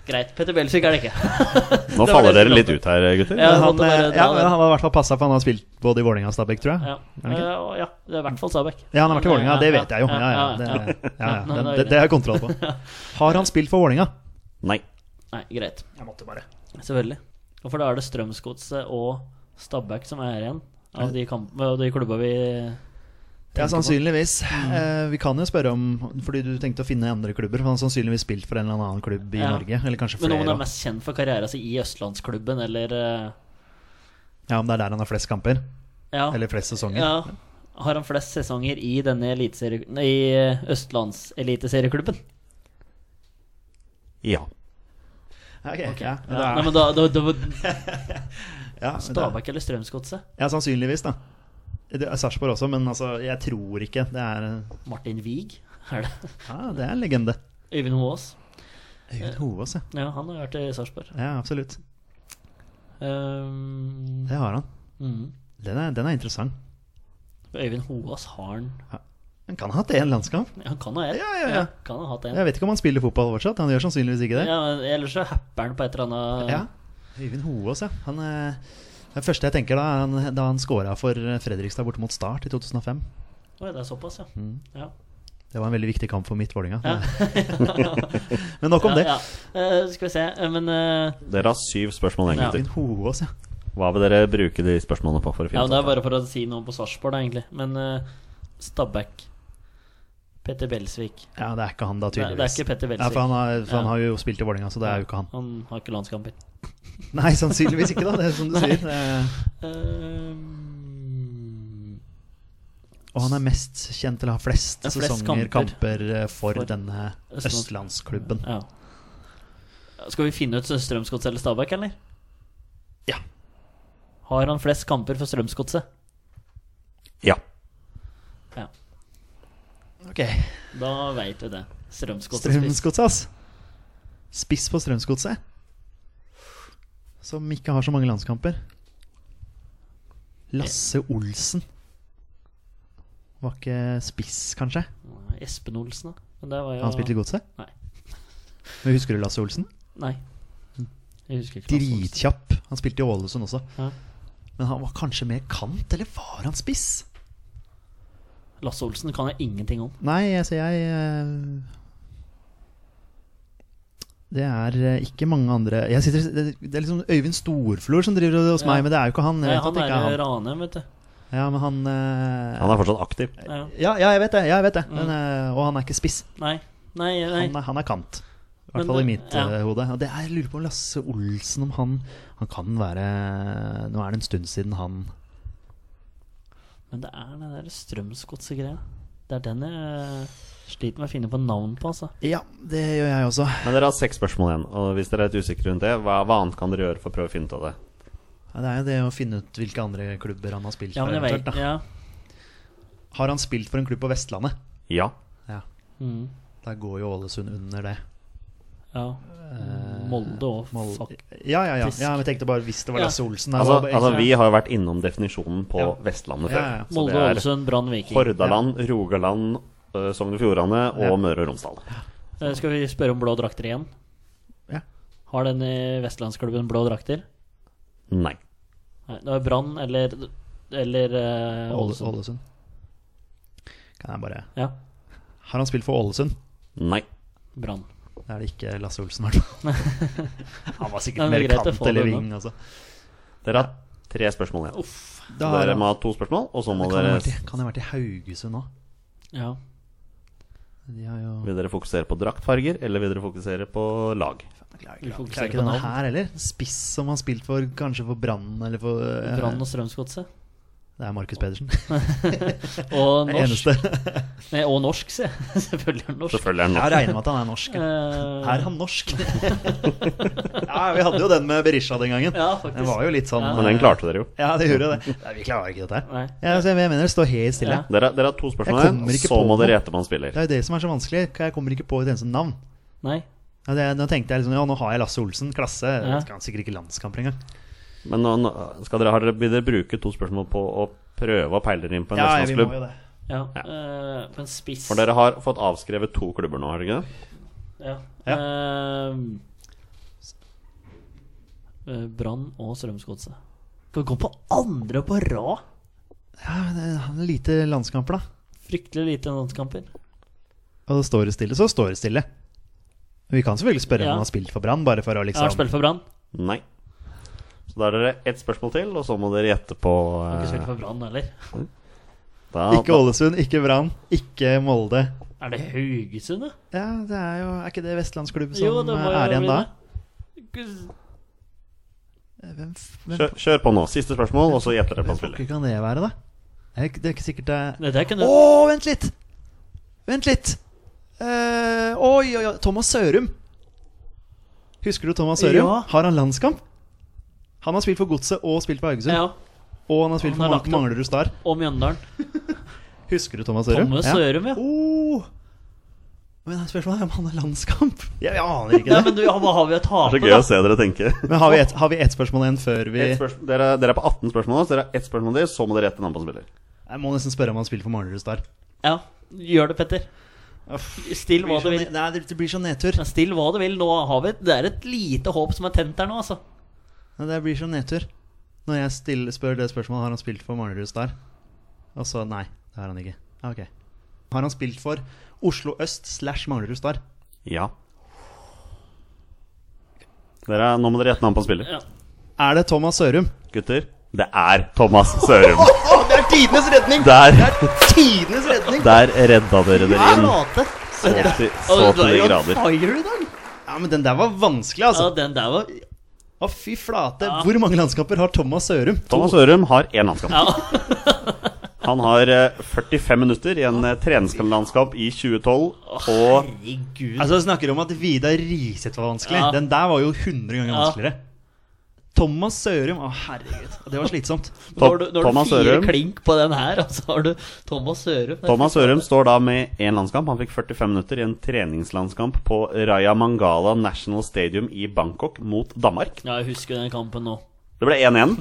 Greit. Petter Welsvik er det ikke. Nå Det var faller det dere som litt ut her, Men gutter. Ja, jeg han, måtte bare eh, ja, dra men den. han har i hvert fall passa, for han har spilt både i Vålinga og Stabæk, tror jeg. Ja. Er det ikke? Eh, og ja, det er i hvert fall Stabæk. Ja, han har vært i Vålinga, det vet jeg jo. Ja, ja, det, ja, ja. ja, <laughs> ja, Ja, det, det- det har jeg kontroll <laughs> på. Har han spilt for Vålinga? Nei. Nei, greit. Jeg måtte bare. Selvfølgelig. Og for da er det Strømsgodset og Stabæk som er igjen av de, kamp- av de klubba vi Ja, sannsynligvis. Mm. Eh, vi kan jo spørre om Fordi du tenkte å finne andre klubber. For han har sannsynligvis spilt for en eller annen klubb i Ja. Norge. Eller kanskje Men flere. om han er og- mest kjent for karrieren sin i østlandsklubben, eller eh, Ja, Om det er der han har flest kamper? ja, Eller flest sesonger? ja. Har han flest sesonger i denne eliteserie- nei, eh, i østlandseliteserieklubben? Ja. Ok, ja. Ja. Da- Nei, men da, <laughs> da, da ja, da- Stabæk eller Strømsgodset? Ja, sannsynligvis, da. Det er Sarpsborg også, men altså, jeg tror ikke. Det er, Martin Wiig? Er det? ja, det er en legende. Øyvind Hoaas? Øyvind Hovaas, ja. Ja, han har vært i Sarpsborg. ja. Absolutt. Um, Det har han. mm. Den er, den er interessant. Øyvind Hoaas har han Han kan ha hatt én landskamp. Han kan ha ett. Ja, ja, ja. Kan ha hatt en. Jeg vet ikke om han spiller fotball fortsatt. Han gjør sannsynligvis ikke det. Ja, men ellers så happer han på et eller annet Ja. Øyvind Hoaas, ja. Han, eh, det første jeg tenker da, er han, da han scora for Fredrikstad borte mot Start i 2005. Oi, det er såpass, ja. Mm. ja. Det var en veldig viktig kamp for mitt Vålerenga. Ja. <laughs> Men nok om det. Ja, ja. Eh, skal vi se, eh, men eh, Dere har syv spørsmål igjen, Ja. gutter. Øyvind Hoaas, ja. Hva vil dere bruke de spørsmålene på? for å ja, finne Det ut er av? bare for å si noe på Sarpsborg, da, egentlig. Men eh, Stabæk. Petter Belsvik. ja. Det er ikke han, da, Det er- tydeligvis. det er ikke Petter Welsvik. Ja, for han har, for han Ja. har jo spilt i Vålerenga, så det er jo ikke han. <laughs> Han har ikke landskamper. Nei, sannsynligvis ikke, da. Det <laughs> er som du sier. Det er- Eh, Og han er mest kjent, eller har flest, Ja, flest sesonger, kamper. kamper, eh, for, For denne Østlands- østlandsklubben. ja. Skal vi finne ut Strømsgodset eller Stabæk, eller? Ja. Har han flest kamper for Strømsgodset? Ja. Ja. Ok, Da veit vi det. Strømsgodset. spiss. Strømsgodset, ass. Spiss på Strømsgodset. Som ikke har så mange landskamper. Lasse Olsen. Var ikke spiss, kanskje? Espen Olsen, da. Men det var jo Han spilte i Godset? Nei. Men husker du Lasse Olsen? Nei. Jeg husker ikke. hva han Dritkjapp. Han spilte i Ålesund også. Ja. Men han var kanskje mer kant, eller var han spiss? sa. Lasse Olsen kan jeg ingenting om. Nei, altså jeg eh, Det er eh, ikke mange andre jeg sitter, det, det er liksom Øyvind Storflor som driver hos Ja. meg, men det er jo ikke han. Jeg Nei, vet at han det er eh, ikke i er han. Ranheim, vet du. Ja, men han, eh, Han er fortsatt aktiv. Ja. ja, ja, jeg vet det. Ja, jeg vet det. Men, eh, og han er ikke spiss. Nei. Nei, Mm. nei. Han er, han er kant. I Men, hvert fall i eh, mitt ja. eh, hode. Og det er, jeg lurer på om Lasse Olsen om han Han kan være Nå er det en stund siden han Men det er den der Strømsgodset-greia. Det er den jeg eh, sliter med å finne på navn på, altså. Ja, det gjør jeg også. Men dere har seks spørsmål igjen. Og hvis dere er litt usikre rundt det, hva, hva annet kan dere gjøre for å prøve å finne ut av det? Ja, det er jo det å finne ut hvilke andre klubber han har spilt Ja, for. men jeg eventuelt, vet, da. ja. Har han spilt for en klubb på Vestlandet? Ja. Ja, Mm, Der går jo Ålesund under det. ja. Eh, Molde og Mol- fuck. Ja, ja, ja. Fisk. ja men jeg tenkte bare hvis det var Ja. Lasse Olsen. da, Altså, var det altså, bare- vi har jo vært innom definisjonen på Ja. Vestlandet Ja, før. ja, ja. Så Molde, det er Ålesund, Brann, Viking. Hordaland, Rogaland, øh, Sogn og Fjordane og Ja. Møre og Romsdal. Eh, Skal vi spørre om blå drakter igjen? Ja. Har den i vestlandsklubben blå drakter? Nei. Nei, det var Brann eller Eller eh, Åle- Ålesund. Ålesund. Kan jeg bare Ja. Har han spilt for Ålesund? Nei. Brann. Da er det ikke Lasse Olsen, i hvert <laughs> fall. Han var sikkert Nei, men mer greit å kant få eller det ving, altså. Dere har tre spørsmål igjen. Uff. Da Så har dere han- må ha to spørsmål, og så må Det kan dere ha vært i- Kan ha vært i Haugesund nå? Ja. De har jo Vil dere fokusere på draktfarger, eller vil dere fokusere på lag? Vi Klarer fokuserer ikke på denne navn. her heller. Spiss som han spilt for, kanskje for Brann eller for eh, Brann og Strømsgodset. Det er Markus Pedersen. Og Det norsk. eneste. Nei, og norsk, se. <laughs> Selvfølgelig er han norsk. Selvfølgelig er den Jeg norsk. regner med at han er norsk. ja. Eh, Er han <laughs> norsk? <laughs> ja, vi hadde jo den med Berisha den gangen. Ja, faktisk. Den var jo litt sånn Ja. Men den klarte dere jo. Ja, det gjorde det. Nei, vi klarer ikke dette her. Nei. Ja, altså, jeg mener det står helt stille. Ja. Dere, dere har to spørsmål Jeg igjen, kommer ikke så på må noe. dere gjette om han spiller. Det er jo det som er så vanskelig. Jeg kommer ikke på et eneste navn. Nei. Ja, det, nå tenkte jeg liksom, ja, nå har jeg Lasse Olsen, klasse. Ja. Skal han sikkert ikke landskamper engang. Men nå, nå skal dere, har dere, vil dere bruke to spørsmål på å prøve å peile dere inn på en Ja, vi må vestlandsklubb? jo det. Ja. eh, men spiss For dere har fått avskrevet to klubber nå, har dere ikke det? Ja. Ja. Eh, eh, Brann og Strømsgodset. Skal vi gå på andre på rad? Ja, men det er lite landskamper, da. Fryktelig lite landskamper. Og det står det stille, så står det stille. Vi kan selvfølgelig spørre Ja. om han har spilt for Brann, bare for å Jeg har liksom spilt for Brann. Nei. Så da er dere ett spørsmål til, og så må dere gjette på Har Ikke eh, spilt for Brann heller. da, Ikke Ålesund, ikke Brann, ikke Molde. Er det Haugesund, da? Ja, det er jo Er ikke det vestlandsklubb som er igjen da? Hvem, f- hvem Kjør, kjør på nå. Siste spørsmål, og så gjetter dere på Hvem han spiller. pokker kan det være, da? Det er ikke, det er ikke sikkert det er Det der Å, kunne vent litt! Vent litt! Eh, oi, oi, oi. Thomas Sørum. Husker du Thomas Sørum? Ja. Har han landskamp? Han har spilt for Godset og spilt for Haugesund. Ja, Og han har spilt Han har for lagt Mang- opp. Manglerud Star. og Mjøndalen. Husker du Thomas Sørum? Thomas Sørum, ja. Oh. Men spørsmålet er om han har landskamp. <laughs> Jeg, jeg aner ikke Nei, det. men du, ja, hva har vi å Det tape, er så gøy da? å se dere tenke. Men har vi ett et ett spørsmål igjen før vi Et spørsmål- Dere, dere er på 18 spørsmål nå, så dere har ett spørsmål til, så må dere gjette navn på spiller. Jeg må nesten spørre om han spiller for Manglerud Star. Ja, gjør det, Petter. Still hva du vil. Nei, det det blir så nedtur. Men Still hva du vil. Nå har vi Det er et lite håp som er tent her nå, altså. Nei, det blir så nedtur. Når jeg stiller, spør det spørsmålet har han spilt for Manglerud Star, og så nei, det har han ikke. Ja, Ok. Har han spilt for Oslo Øst slash Manglerud Star? Ja. Dere, nå må dere gjette navn på spiller. Ja. Er det Thomas Sørum? Gutter, det er Thomas Sørum. <laughs> det er tidenes redning! Der, Tidenes redning! der redda dere dere inn Late. så til, så til de grader. fire i dag. Ja, men den der var vanskelig, Ja, altså. den der var Å, fy flate. Hvor mange landskamper har Thomas Sørum? Thomas Sørum har én landskamp. <laughs> Han har eh, 45 minutter i en eh, treningslandskamp i 2012, og Herregud. Altså, jeg snakker om at Vidar Riseth var vanskelig. Ja. Den der var jo 100 ganger Ja. vanskeligere. Thomas Sørum Å, herregud. Det var slitsomt. Nå har du, nå har Thomas du fire Sørum. klink på den her, og så har du Thomas Sørum. Thomas Sørum står da med én landskamp. Han fikk 45 minutter i en treningslandskamp på Raya Mangala National Stadium i Bangkok mot Danmark. Ja, jeg husker den kampen nå. Det ble <laughs> 1-1.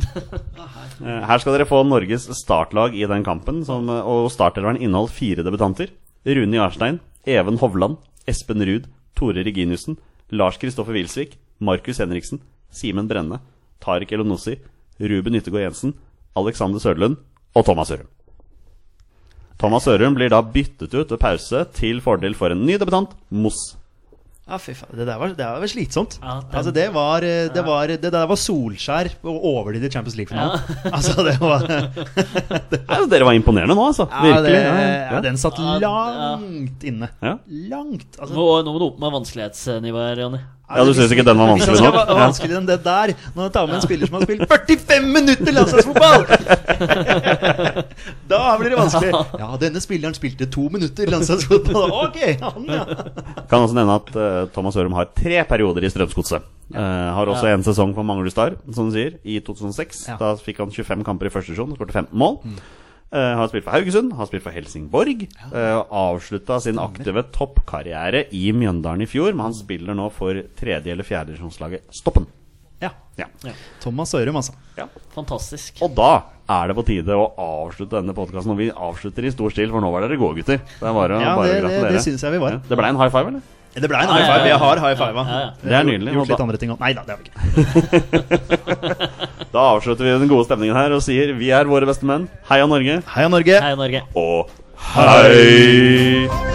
Ah, Eh, Her skal dere få Norges startlag i den kampen, som, eh, og startelveren inneholdt fire debutanter. Rune Jarstein, Even Hovland, Espen Ruud, Tore Reginiussen, Lars Kristoffer Wilsvik, Markus Henriksen, Simen Brenne, Tariq Elonossi, Ruben Yttergård Jensen, Alexander Sørlund og Thomas Sørum. Thomas Sørum blir da byttet ut ved pause til fordel for en ny debutant, Moss. Ja, fy faen. Det der var, det der var slitsomt. Ja, den- altså, det, var, eh, det, var, det der var Solskjær og over til Champions League-finalen. <laughs> altså, det <laughs> var Ja, dere var imponerende nå, altså. ja, det, Virkelig. ja, Den satt Ja, ja. langt inne. Ja. Langt. Nå, Altså, nå må du opp med vanskelighetsnivået her, Jonny. Ja, du synes ikke den var hvis det vanskelig skal nok? være Ja. vanskeligere enn det der Når jeg tar med en spiller som har spilt 45 minutter landslagsfotball! <laughs> da blir det vanskelig. Ja, denne spilleren spilte to minutter landslagsfotball. Ok, han, ja. Kan også nevne at eh, Thomas Ørum har tre perioder i Strømsgodset. Eh, har også en sesong for Manglerud Star, som du sier, i 2006. Ja. Mm. Da fikk han 25 kamper i første divisjon og skåret 15 mål. Eh, har spilt for Haugesund, har spilt for Helsingborg. eh, og avslutta sin aktive toppkarriere i Mjøndalen i fjor, men han spiller nå for tredje- eller fjerdedivisjonslaget Stoppen. ja. Ja. Thomas Sørum, altså. ja. Fantastisk. Og da er det på tide å avslutte denne podkasten. Og vi avslutter i stor stil, for nå var dere gode, gutter. Det er bare, Ja, bare det- å det- gratulere. det synes jeg vi var. Ja. Det ble en high five, eller? Det ble en Ja, high ja, five. ja. Jeg har high five. Ja, ja. Det er nydelig. Og Gjort da- litt andre ting òg. Nei da, det har vi ikke. Da avslutter vi den gode stemningen her og sier vi er våre beste menn. Heia Norge. Heia Norge! Hei, Norge. Og hei!